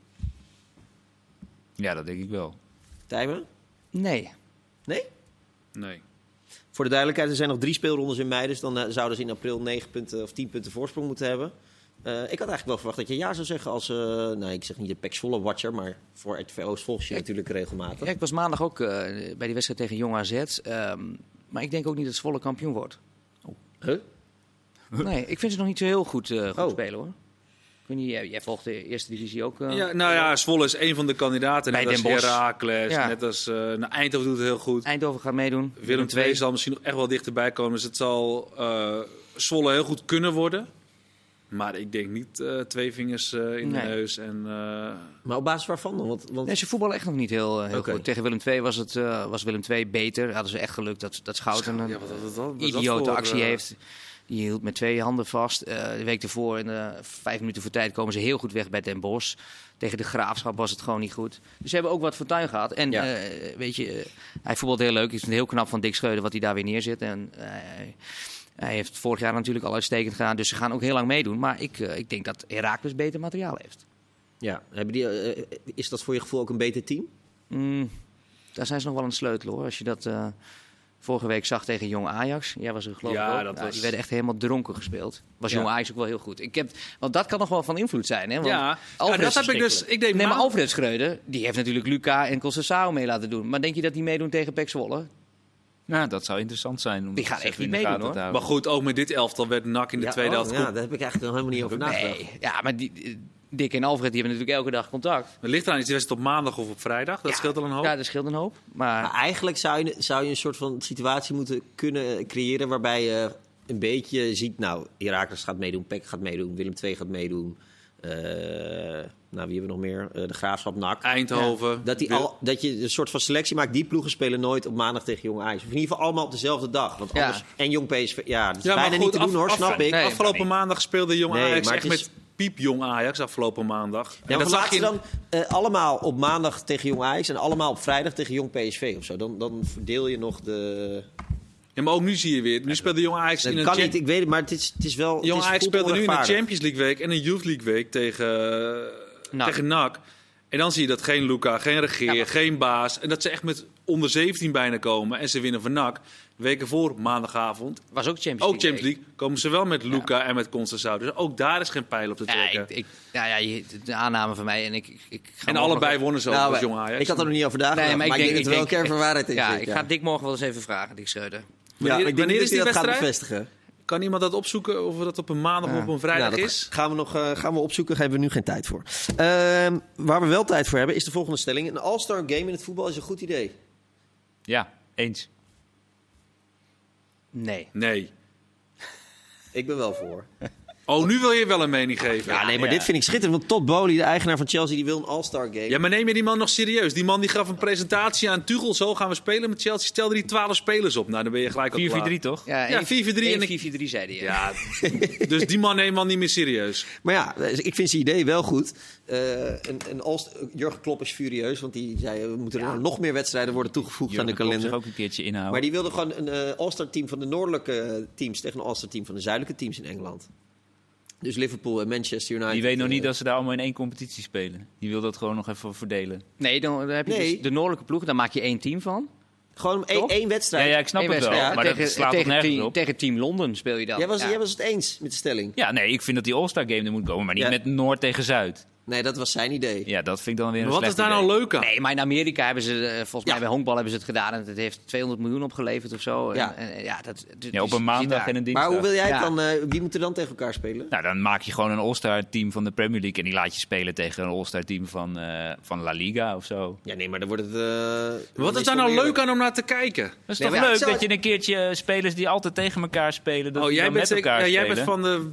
Speaker 3: Ja, dat denk ik wel.
Speaker 1: Tijmen?
Speaker 4: Nee.
Speaker 1: Nee?
Speaker 2: Nee.
Speaker 1: Voor de duidelijkheid, er zijn nog drie speelrondes in mei. Dus dan eh, zouden ze in april 9 punten of 10 punten voorsprong moeten hebben. Eh, ik had eigenlijk wel verwacht dat je ja zou zeggen als... eh nou, ik zeg niet de Pax Volle watcher, maar voor RTV Oost volg je natuurlijk regelmatig.
Speaker 4: Ja, ik was maandag ook eh, bij die wedstrijd tegen Jong AZ. ehm, maar ik denk ook niet dat Zwolle kampioen wordt. Oh.
Speaker 1: Huh?
Speaker 4: Nee, ik vind ze nog niet zo heel goed, eh, goed
Speaker 1: Oh.
Speaker 4: spelen hoor. Ik weet niet, jij, jij volgt de eerste divisie ook. eh?
Speaker 2: Ja, nou ja, Zwolle is een van de kandidaten.
Speaker 4: Bij
Speaker 2: Net als
Speaker 4: Den Bosch.
Speaker 2: Heracles,
Speaker 4: Ja.
Speaker 2: net als eh, nou, Eindhoven doet het heel goed.
Speaker 4: Eindhoven gaat meedoen.
Speaker 2: Willem II zal misschien nog echt wel dichterbij komen. Dus het zal eh Zwolle heel goed kunnen worden. Maar ik denk niet eh, twee vingers eh, in
Speaker 4: Nee.
Speaker 2: de neus. En, eh,
Speaker 1: Maar op basis waarvan dan? Want, want...
Speaker 4: Nee, ze voetballen echt nog niet heel, eh, heel
Speaker 1: Oké.
Speaker 4: goed. Tegen Willem II was, het, eh, was Willem II beter. Hadden ze echt geluk dat, dat Schouten een
Speaker 2: ja, wat- wat- wat- wat dat
Speaker 4: idiote
Speaker 2: voor,
Speaker 4: actie
Speaker 2: eh,
Speaker 4: heeft. Die hield met twee handen vast. Eh, de week ervoor, in de vijf minuten voor tijd, komen ze heel goed weg bij Den Bosch. Tegen de Graafschap was het gewoon niet goed. Dus ze hebben ook wat fortuin gehad. En
Speaker 1: Ja.
Speaker 4: eh, weet je, eh, hij voetbalt heel leuk. Ik vind het heel knap van Dick Scheuden wat hij daar weer neerzet. En eh, hij- hij heeft vorig jaar natuurlijk al uitstekend gedaan. Dus ze gaan ook heel lang meedoen. Maar ik, eh, ik denk dat Heracles beter materiaal heeft.
Speaker 1: Ja, hebben die, eh, eh, is dat voor je gevoel ook een beter team?
Speaker 4: Mm, daar zijn ze nog wel een sleutel hoor. Als je dat eh, vorige week zag tegen Jong Ajax. Jij was er geloof ik
Speaker 2: Ja,
Speaker 4: ook.
Speaker 2: dat
Speaker 4: Nou,
Speaker 2: was-
Speaker 4: Die werden echt helemaal dronken gespeeld. Was
Speaker 1: Ja.
Speaker 4: Jong Ajax ook wel heel goed. Ik heb, want dat kan nog wel van invloed zijn. Hè? Want
Speaker 2: ja, ja,
Speaker 4: Alvarez
Speaker 2: dat heb ik
Speaker 4: verschrikkelijk.
Speaker 2: dus. Ik deed
Speaker 4: Nee, maar
Speaker 2: maand-
Speaker 4: Alfred Schreuder, die heeft natuurlijk Luca en Concessao mee laten doen. Maar denk je dat die meedoen tegen Pek Zwolle?
Speaker 3: Nou, dat zou interessant zijn. Om
Speaker 4: Die
Speaker 3: dat
Speaker 4: gaan
Speaker 3: eens
Speaker 4: echt
Speaker 3: even
Speaker 4: niet
Speaker 3: in de
Speaker 4: meedoen,
Speaker 3: gaten te
Speaker 2: maar
Speaker 3: houden.
Speaker 2: goed, ook met dit elftal werd NAC in de
Speaker 1: Ja,
Speaker 2: tweede
Speaker 1: oh,
Speaker 2: helft
Speaker 1: ja,
Speaker 2: goed.
Speaker 1: daar heb ik eigenlijk nog helemaal niet over nagedacht.
Speaker 4: Nee. Ja, maar die, eh, Dick en Alfred die hebben natuurlijk elke dag contact.
Speaker 2: Het ligt eraan, is die wedstrijd op maandag of op vrijdag? Dat
Speaker 4: Ja,
Speaker 2: scheelt al een hoop.
Speaker 4: Ja, dat scheelt een hoop. Maar
Speaker 1: Maar eigenlijk zou je, zou je een soort van situatie moeten kunnen eh, creëren waarbij je een beetje ziet, nou, Herakles gaat meedoen, PEC gaat meedoen, Willem II gaat meedoen. eh, nou, wie hebben we nog meer? Eh, de Graafschap, NAC.
Speaker 2: Eindhoven.
Speaker 1: Dat, die al, dat je een soort van selectie maakt. Die ploegen spelen nooit op maandag tegen Jong Ajax. Of in ieder geval allemaal op dezelfde dag. Want
Speaker 4: Ja.
Speaker 1: anders, En Jong PSV. Ja, dat is
Speaker 2: Ja, maar
Speaker 1: bijna
Speaker 2: goed,
Speaker 1: niet te doen
Speaker 2: af-
Speaker 1: hoor,
Speaker 2: af-
Speaker 1: snap ik.
Speaker 4: Nee,
Speaker 2: Afgelopen maandag speelde Jong
Speaker 1: Nee,
Speaker 2: Ajax
Speaker 1: maar
Speaker 2: echt
Speaker 1: het is-
Speaker 2: met piep Jong Ajax afgelopen maandag.
Speaker 1: Ja, maar
Speaker 2: dat
Speaker 1: verlaat
Speaker 2: zag
Speaker 1: ze
Speaker 2: je
Speaker 1: dan eh, allemaal op maandag tegen Jong Ajax en allemaal op vrijdag tegen Jong PSV of zo. Dan, dan verdeel je nog de...
Speaker 2: Ja, maar ook nu zie je weer. Nu speelde Jong Ajax
Speaker 1: Dat
Speaker 2: in een
Speaker 1: kan
Speaker 2: cha-
Speaker 1: niet, ik weet het, maar het is, het is wel...
Speaker 2: Jong
Speaker 1: het is
Speaker 2: Ajax
Speaker 1: voelt
Speaker 2: speelde nu in de
Speaker 1: onrechtvaardig.
Speaker 2: Champions League week en een Youth League week tegen, eh,
Speaker 4: NAC.
Speaker 2: tegen NAC. En dan zie je dat geen Luca, geen Regeer,
Speaker 4: Ja, maar-
Speaker 2: geen Baas. En dat ze echt met onder 17 bijna komen. En ze winnen van NAC. Weken voor, maandagavond.
Speaker 4: was ook Champions
Speaker 2: Ook
Speaker 4: League.
Speaker 2: Champions League. Komen ze wel met Luca en met Constanzao. Dus ook daar is geen pijl op te
Speaker 4: Ja,
Speaker 2: trekken.
Speaker 4: ik, ik, nou ja, je- de aanname van mij en ik... ik, ik ga
Speaker 2: en
Speaker 4: morgen-
Speaker 2: allebei wonnen ze ook
Speaker 1: Nou,
Speaker 2: als
Speaker 1: wij-
Speaker 2: Jong Ajax.
Speaker 1: Ik had er nog niet over nagedacht,
Speaker 4: Nee,
Speaker 1: maar, ik denk, dat er wel een kern van waarheid in
Speaker 4: Ja,
Speaker 1: zit,
Speaker 4: ik
Speaker 1: ja.
Speaker 4: ga Dick morgen wel eens even vragen, Dick Schreuder.
Speaker 1: Ja, ik denk niet
Speaker 2: Wanneer is
Speaker 1: dat hij dat
Speaker 2: die
Speaker 1: gaat
Speaker 2: wedstrijd?
Speaker 1: bevestigen.
Speaker 2: Kan iemand dat opzoeken of dat op een maandag of op een vrijdag
Speaker 1: Nou, dat
Speaker 2: is?
Speaker 1: Gaan we, nog, eh, gaan we opzoeken, daar hebben we nu geen tijd voor. Ehm, waar we wel tijd voor hebben, is de volgende stelling. Een all-star game in het voetbal is een goed idee.
Speaker 3: Ja, Eens.
Speaker 4: Nee.
Speaker 2: Nee.
Speaker 1: Ik ben wel voor.
Speaker 2: Oh, nu wil je wel een mening geven.
Speaker 1: Ja, nee, maar
Speaker 3: ja.
Speaker 1: dit vind ik schitterend. Want Todd Bowley, de eigenaar van Chelsea, die wil een All-Star game.
Speaker 2: Ja, maar neem je die man nog serieus? Die man die gaf een presentatie aan Tuchel. Zo gaan we spelen met Chelsea. Stel er die 12 spelers op. Nou, dan ben je gelijk al klaar.
Speaker 3: 4-4-3 toch?
Speaker 2: Ja,
Speaker 4: Ja, één-
Speaker 2: 4-4-3 en
Speaker 4: één
Speaker 2: ik-
Speaker 4: 4-4-3 zei hij.
Speaker 2: Ja, dus die man neemt man niet meer serieus.
Speaker 1: Maar ja, dus ik vind zijn idee wel goed. Eh, en, en als, Jurgen Klopp is furieus, want die zei... we moeten er nou nog meer wedstrijden worden toegevoegd aan de kalender.
Speaker 3: zich ook nou. een keertje inhouden.
Speaker 1: Maar die wilde gewoon een eh All-Star team van de noordelijke teams... tegen een All-Star team van de zuidelijke teams in Engeland. Dus Liverpool en Manchester United.
Speaker 3: Die weet nog
Speaker 1: eh,
Speaker 3: niet dat ze daar allemaal in één competitie spelen. Die wil dat gewoon nog even verdelen.
Speaker 4: Nee, dan, dan heb je
Speaker 1: Nee.
Speaker 4: dus de noordelijke ploeg, daar maak je één team van.
Speaker 1: Gewoon één,
Speaker 4: Toch?
Speaker 1: één
Speaker 3: Ja,
Speaker 1: wedstrijd.
Speaker 3: ja ik snap
Speaker 4: Eén
Speaker 3: het wel.
Speaker 4: wedstrijd.
Speaker 3: maar
Speaker 4: tegen,
Speaker 3: dat slaat toch
Speaker 4: tegen,
Speaker 3: nergens
Speaker 4: team,
Speaker 3: op.
Speaker 4: tegen Team Londen speel je dan.
Speaker 1: Jij was,
Speaker 4: Ja.
Speaker 1: jij was het eens met de stelling.
Speaker 3: Ja, nee, ik vind dat die All-Star Game er moet komen. Maar niet
Speaker 1: Ja.
Speaker 3: met Noord tegen Zuid.
Speaker 1: Nee, dat was zijn idee.
Speaker 3: Ja, dat vind ik dan weer een
Speaker 2: Maar wat is
Speaker 3: slecht
Speaker 2: daar nou
Speaker 3: idee.
Speaker 2: leuk aan?
Speaker 4: Nee, maar in Amerika hebben ze, eh, volgens
Speaker 1: Ja.
Speaker 4: mij bij honkbal hebben ze het gedaan. En het heeft 200 miljoen opgeleverd of zo. En-
Speaker 1: Ja.
Speaker 4: En, en ja, dat,
Speaker 3: Ja, op
Speaker 4: dat- die-
Speaker 3: een
Speaker 4: die
Speaker 3: maandag
Speaker 4: zit
Speaker 3: en een dinsdag.
Speaker 1: Maar hoe wil jij het
Speaker 4: Ja.
Speaker 1: dan... eh, wie moet er dan tegen elkaar spelen?
Speaker 3: Nou, dan maak je gewoon een All-Star team van de Premier League. En die laat je spelen tegen een All-Star team van, eh, van La Liga of zo.
Speaker 1: Ja, nee, maar dan wordt het... eh,
Speaker 2: Wat
Speaker 1: dan
Speaker 2: is daar nou leuk aan om naar te kijken?
Speaker 3: Dat is
Speaker 1: Nee,
Speaker 3: toch
Speaker 1: maar ja,
Speaker 3: leuk
Speaker 1: ik zou-
Speaker 3: dat je een keertje eh, spelers die altijd tegen elkaar spelen, dat
Speaker 2: Oh,
Speaker 3: die
Speaker 2: jij
Speaker 3: dan
Speaker 2: bent,
Speaker 3: met
Speaker 2: zeker-
Speaker 3: elkaar
Speaker 2: ja, jij
Speaker 3: spelen.
Speaker 2: bent van de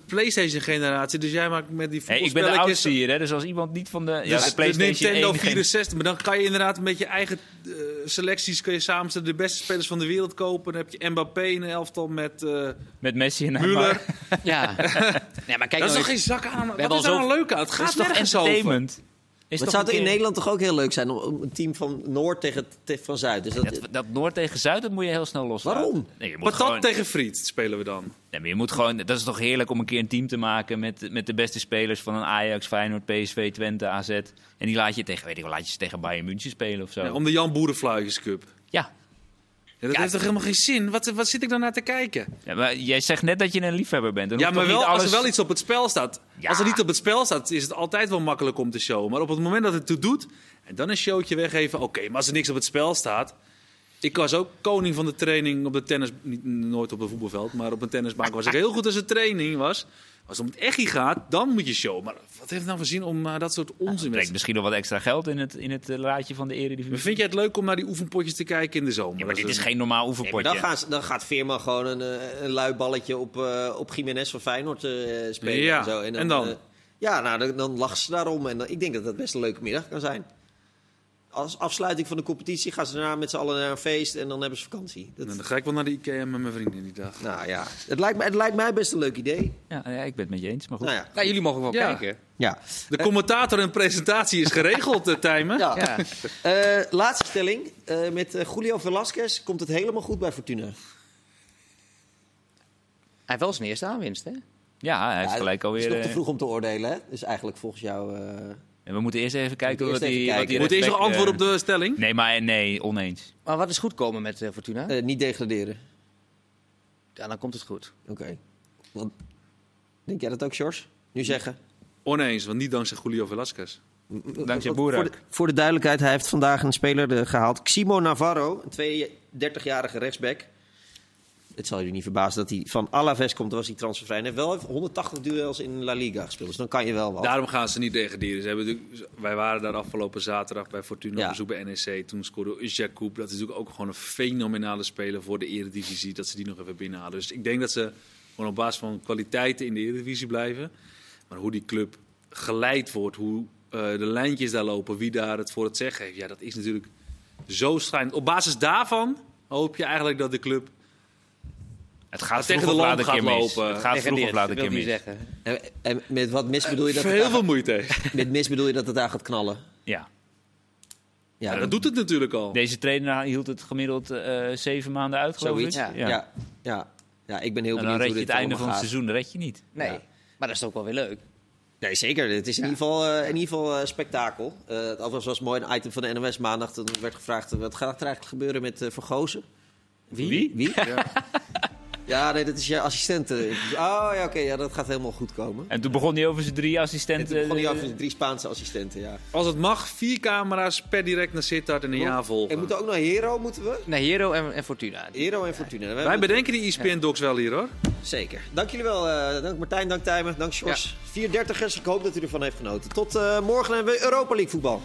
Speaker 2: PlayStation-generatie, dus jij maakt met die
Speaker 3: Hey, ik ben de
Speaker 2: voetbalspelletjes...
Speaker 3: oudste hier, hè, dus als iemand niet van de, ja,
Speaker 2: dus
Speaker 3: de PlayStation
Speaker 2: Nintendo
Speaker 3: 1 geen-
Speaker 2: 64, maar dan kan je inderdaad met je eigen eh, selecties kun je samenstellen de beste spelers van de wereld kopen. Dan heb je Mbappé in een elftal met eh
Speaker 3: met Messi en
Speaker 2: Müller.
Speaker 3: Neymar.
Speaker 4: Ja. nee, maar kijk
Speaker 2: Dat is
Speaker 4: nou
Speaker 2: toch
Speaker 4: eens-
Speaker 2: geen zak aan? Wat
Speaker 4: hebben
Speaker 2: is
Speaker 4: al
Speaker 2: daar nou leuk aan? Het
Speaker 3: Dat is
Speaker 2: gaat
Speaker 3: toch
Speaker 2: nergens over.
Speaker 3: entertainment? Is
Speaker 1: Maar het zou
Speaker 3: toch een
Speaker 1: toch in
Speaker 3: keer-
Speaker 1: Nederland toch ook heel leuk zijn om- om een team van Noord tegen, tegen van Zuid. Dus dat,
Speaker 3: Dat, dat Noord tegen Zuid, dat moet je heel snel loslaten.
Speaker 1: Waarom?
Speaker 3: Nee, je moet
Speaker 2: Patat
Speaker 3: gewoon,
Speaker 2: tegen friet spelen we dan.
Speaker 3: nee, maar je moet gewoon, dat is toch heerlijk om een keer een team te maken met, met de beste spelers van een Ajax, Feyenoord, PSV, Twente, AZ. En die laat je tegen, weet ik wel, laat je ze tegen Bayern München spelen of zo.
Speaker 2: Ja, om de Jan Boerenfluitjes Cup.
Speaker 3: ja.
Speaker 2: Ja, dat heeft toch helemaal geen zin? Wat, wat zit ik dan naar te kijken?
Speaker 3: Ja, maar jij zegt net dat je een liefhebber bent. Dan
Speaker 2: Ja,
Speaker 3: hoeft
Speaker 2: maar
Speaker 3: toch
Speaker 2: wel,
Speaker 3: niet alles...
Speaker 2: als er wel iets op het spel staat.
Speaker 3: Ja.
Speaker 2: Als er niet op het spel staat, is het altijd wel makkelijk om te showen. Maar op het moment dat het toe doet, en dan een showtje weggeven. Oké, maar als er niks op het spel staat. Ik was ook koning van de training op de tennis. Niet, nooit op een voetbalveld, maar op een tennisbaan was ik heel goed als het training was. Als het om het echt gaat, dan moet je showen. Maar wat heeft het nou voor zin om eh, dat soort onzin
Speaker 3: brengt
Speaker 2: te
Speaker 3: misschien nog wat extra geld in het, in het eh, laadje van de Eredivisie.
Speaker 2: Vind jij het leuk om naar die oefenpotjes te kijken in de zomer?
Speaker 3: Ja, maar
Speaker 2: Dat
Speaker 3: dit is
Speaker 2: een-
Speaker 3: geen normaal
Speaker 1: Nee, maar dan,
Speaker 3: oefenpotje.
Speaker 1: gaan ze- dan gaat Veerman gewoon een, eh, een lui balletje op, eh op Jiménez van Feyenoord eh, spelen.
Speaker 2: Ja,
Speaker 1: En, zo. en dan?
Speaker 2: en dan?
Speaker 1: eh, ja, nou, dan, dan lachen ze daarom. En dan- ik denk dat dat best een leuke middag kan zijn. Als afsluiting van de competitie gaan ze daarna met z'n allen naar een feest en dan hebben ze vakantie. Dat,
Speaker 2: Nou, Dan ga ik wel naar de IKEA met mijn vrienden die dag.
Speaker 1: nou ja, het lijkt, mij- het lijkt mij best een leuk idee.
Speaker 3: Ja, ja, ik ben het met je eens, maar goed.
Speaker 1: Nou ja,
Speaker 4: Nou, jullie mogen wel
Speaker 2: Ja.
Speaker 4: kijken.
Speaker 1: ja.
Speaker 2: De commentator en presentatie is geregeld, eh, Tijmen.
Speaker 1: Eh. ja.
Speaker 4: Ja.
Speaker 1: Eh, laatste stelling. Eh, met eh, Julio Velasquez komt het helemaal goed bij Fortuna.
Speaker 4: Hij heeft wel zijn eerste aanwinst, hè?
Speaker 3: Ja, hij heeft
Speaker 1: Ja,
Speaker 3: gelijk
Speaker 1: Het
Speaker 3: alweer...
Speaker 1: is nog te
Speaker 3: eh,
Speaker 1: vroeg om te oordelen, hè? Dus eigenlijk volgens jou... eh,
Speaker 3: en we moeten eerst even kijken
Speaker 1: eerst
Speaker 3: wat
Speaker 1: even
Speaker 3: die...
Speaker 1: kijken.
Speaker 3: wat die
Speaker 2: Je moet eerst nog
Speaker 3: rechtsback,
Speaker 2: antwoorden op
Speaker 3: eh,
Speaker 2: de stelling.
Speaker 3: Nee, maar nee, oneens.
Speaker 4: Maar wat is goed komen met eh, Fortuna?
Speaker 1: eh, niet degraderen.
Speaker 4: Ja, dan komt het goed.
Speaker 1: Oké. Want- Denk jij dat ook, George? Nu zeggen.
Speaker 2: Oneens, want niet dankzij Julio Velasquez.
Speaker 3: Dankzij
Speaker 1: Voor de,
Speaker 3: Boerak.
Speaker 1: voor de duidelijkheid, hij heeft vandaag een speler eh, gehaald. Ximo Navarro, een 32-jarige rechtsback. Het zal je niet verbazen dat hij van Alaves komt, was hij transfervrij. En heeft wel 180 duels in La Liga gespeeld, dus dan kan je wel wat.
Speaker 2: Daarom gaan ze niet degraderen. Ze hebben natuurlijk- wij waren daar afgelopen zaterdag bij Fortuna
Speaker 1: Ja.
Speaker 2: op bezoek bij NEC. Toen scoorde Jacob. Dat is natuurlijk ook gewoon een fenomenale speler voor de Eredivisie. Dat ze die nog even binnenhalen. Dus ik denk dat ze gewoon op basis van kwaliteiten in de Eredivisie blijven. Maar hoe die club geleid wordt, hoe eh, de lijntjes daar lopen, wie daar het voor het zeggen heeft. Ja, dat is natuurlijk zo schrijnend. Op basis daarvan hoop je eigenlijk dat de club
Speaker 3: Het gaat
Speaker 2: tegen
Speaker 3: vroeg
Speaker 2: de
Speaker 3: of laat
Speaker 2: lamp
Speaker 3: een keer
Speaker 2: gaat
Speaker 3: mis.
Speaker 2: lopen.
Speaker 3: Het gaat vroeg of laat een keer mis.
Speaker 4: zeggen.
Speaker 1: En, en met wat mis bedoel je dat, het
Speaker 2: heel
Speaker 1: daar-
Speaker 2: veel moeite heeft.
Speaker 1: met mis bedoel je dat het daar gaat knallen?
Speaker 3: Ja.
Speaker 1: Ja,
Speaker 2: Ja, dat doet het natuurlijk al.
Speaker 3: Deze trainer hield het gemiddeld eh, zeven maanden uit, geloof
Speaker 1: zoiets.
Speaker 3: ik.
Speaker 1: Ja, ja. Ja, Ja, ik ben heel benieuwd
Speaker 3: En dan red
Speaker 1: hoe
Speaker 3: je het
Speaker 1: dit
Speaker 3: einde
Speaker 1: allemaal
Speaker 3: van het
Speaker 1: gaat.
Speaker 3: seizoen, dat red je niet.
Speaker 4: Nee,
Speaker 1: Ja.
Speaker 4: maar dat is ook wel weer leuk.
Speaker 1: Nee, zeker. Het is in ieder geval, eh, in ieder geval eh, spektakel. Eh het alvast was mooi een item van de NOS maandag. Toen werd gevraagd, eh, wat gaat er eigenlijk gebeuren met eh Vergozen?
Speaker 3: Wie?
Speaker 1: Wie? Ja. nee, dat is je assistent. eh. Oh ja, oké, ja, dat gaat helemaal goed komen.
Speaker 3: En toen begon hij over zijn drie
Speaker 1: En
Speaker 3: assistenten.
Speaker 1: toen begon hij over de drie Spaanse assistenten, ja.
Speaker 2: Als het mag, vier camera's per direct naar Sittard en een jaar volgen.
Speaker 1: En moeten we ook naar Hero, moeten we?
Speaker 4: Nee, Hero en, en Fortuna.
Speaker 1: Hero en Fortuna. We
Speaker 2: Wij
Speaker 1: hebben-
Speaker 2: bedenken die e-spin docs wel hier hoor.
Speaker 1: Zeker. Dank jullie wel. eh, dank Martijn, dank Tijmen, dank Sjors. 34ers, ik hoop dat u ervan heeft genoten. Tot eh, morgen hebben we Europa League voetbal.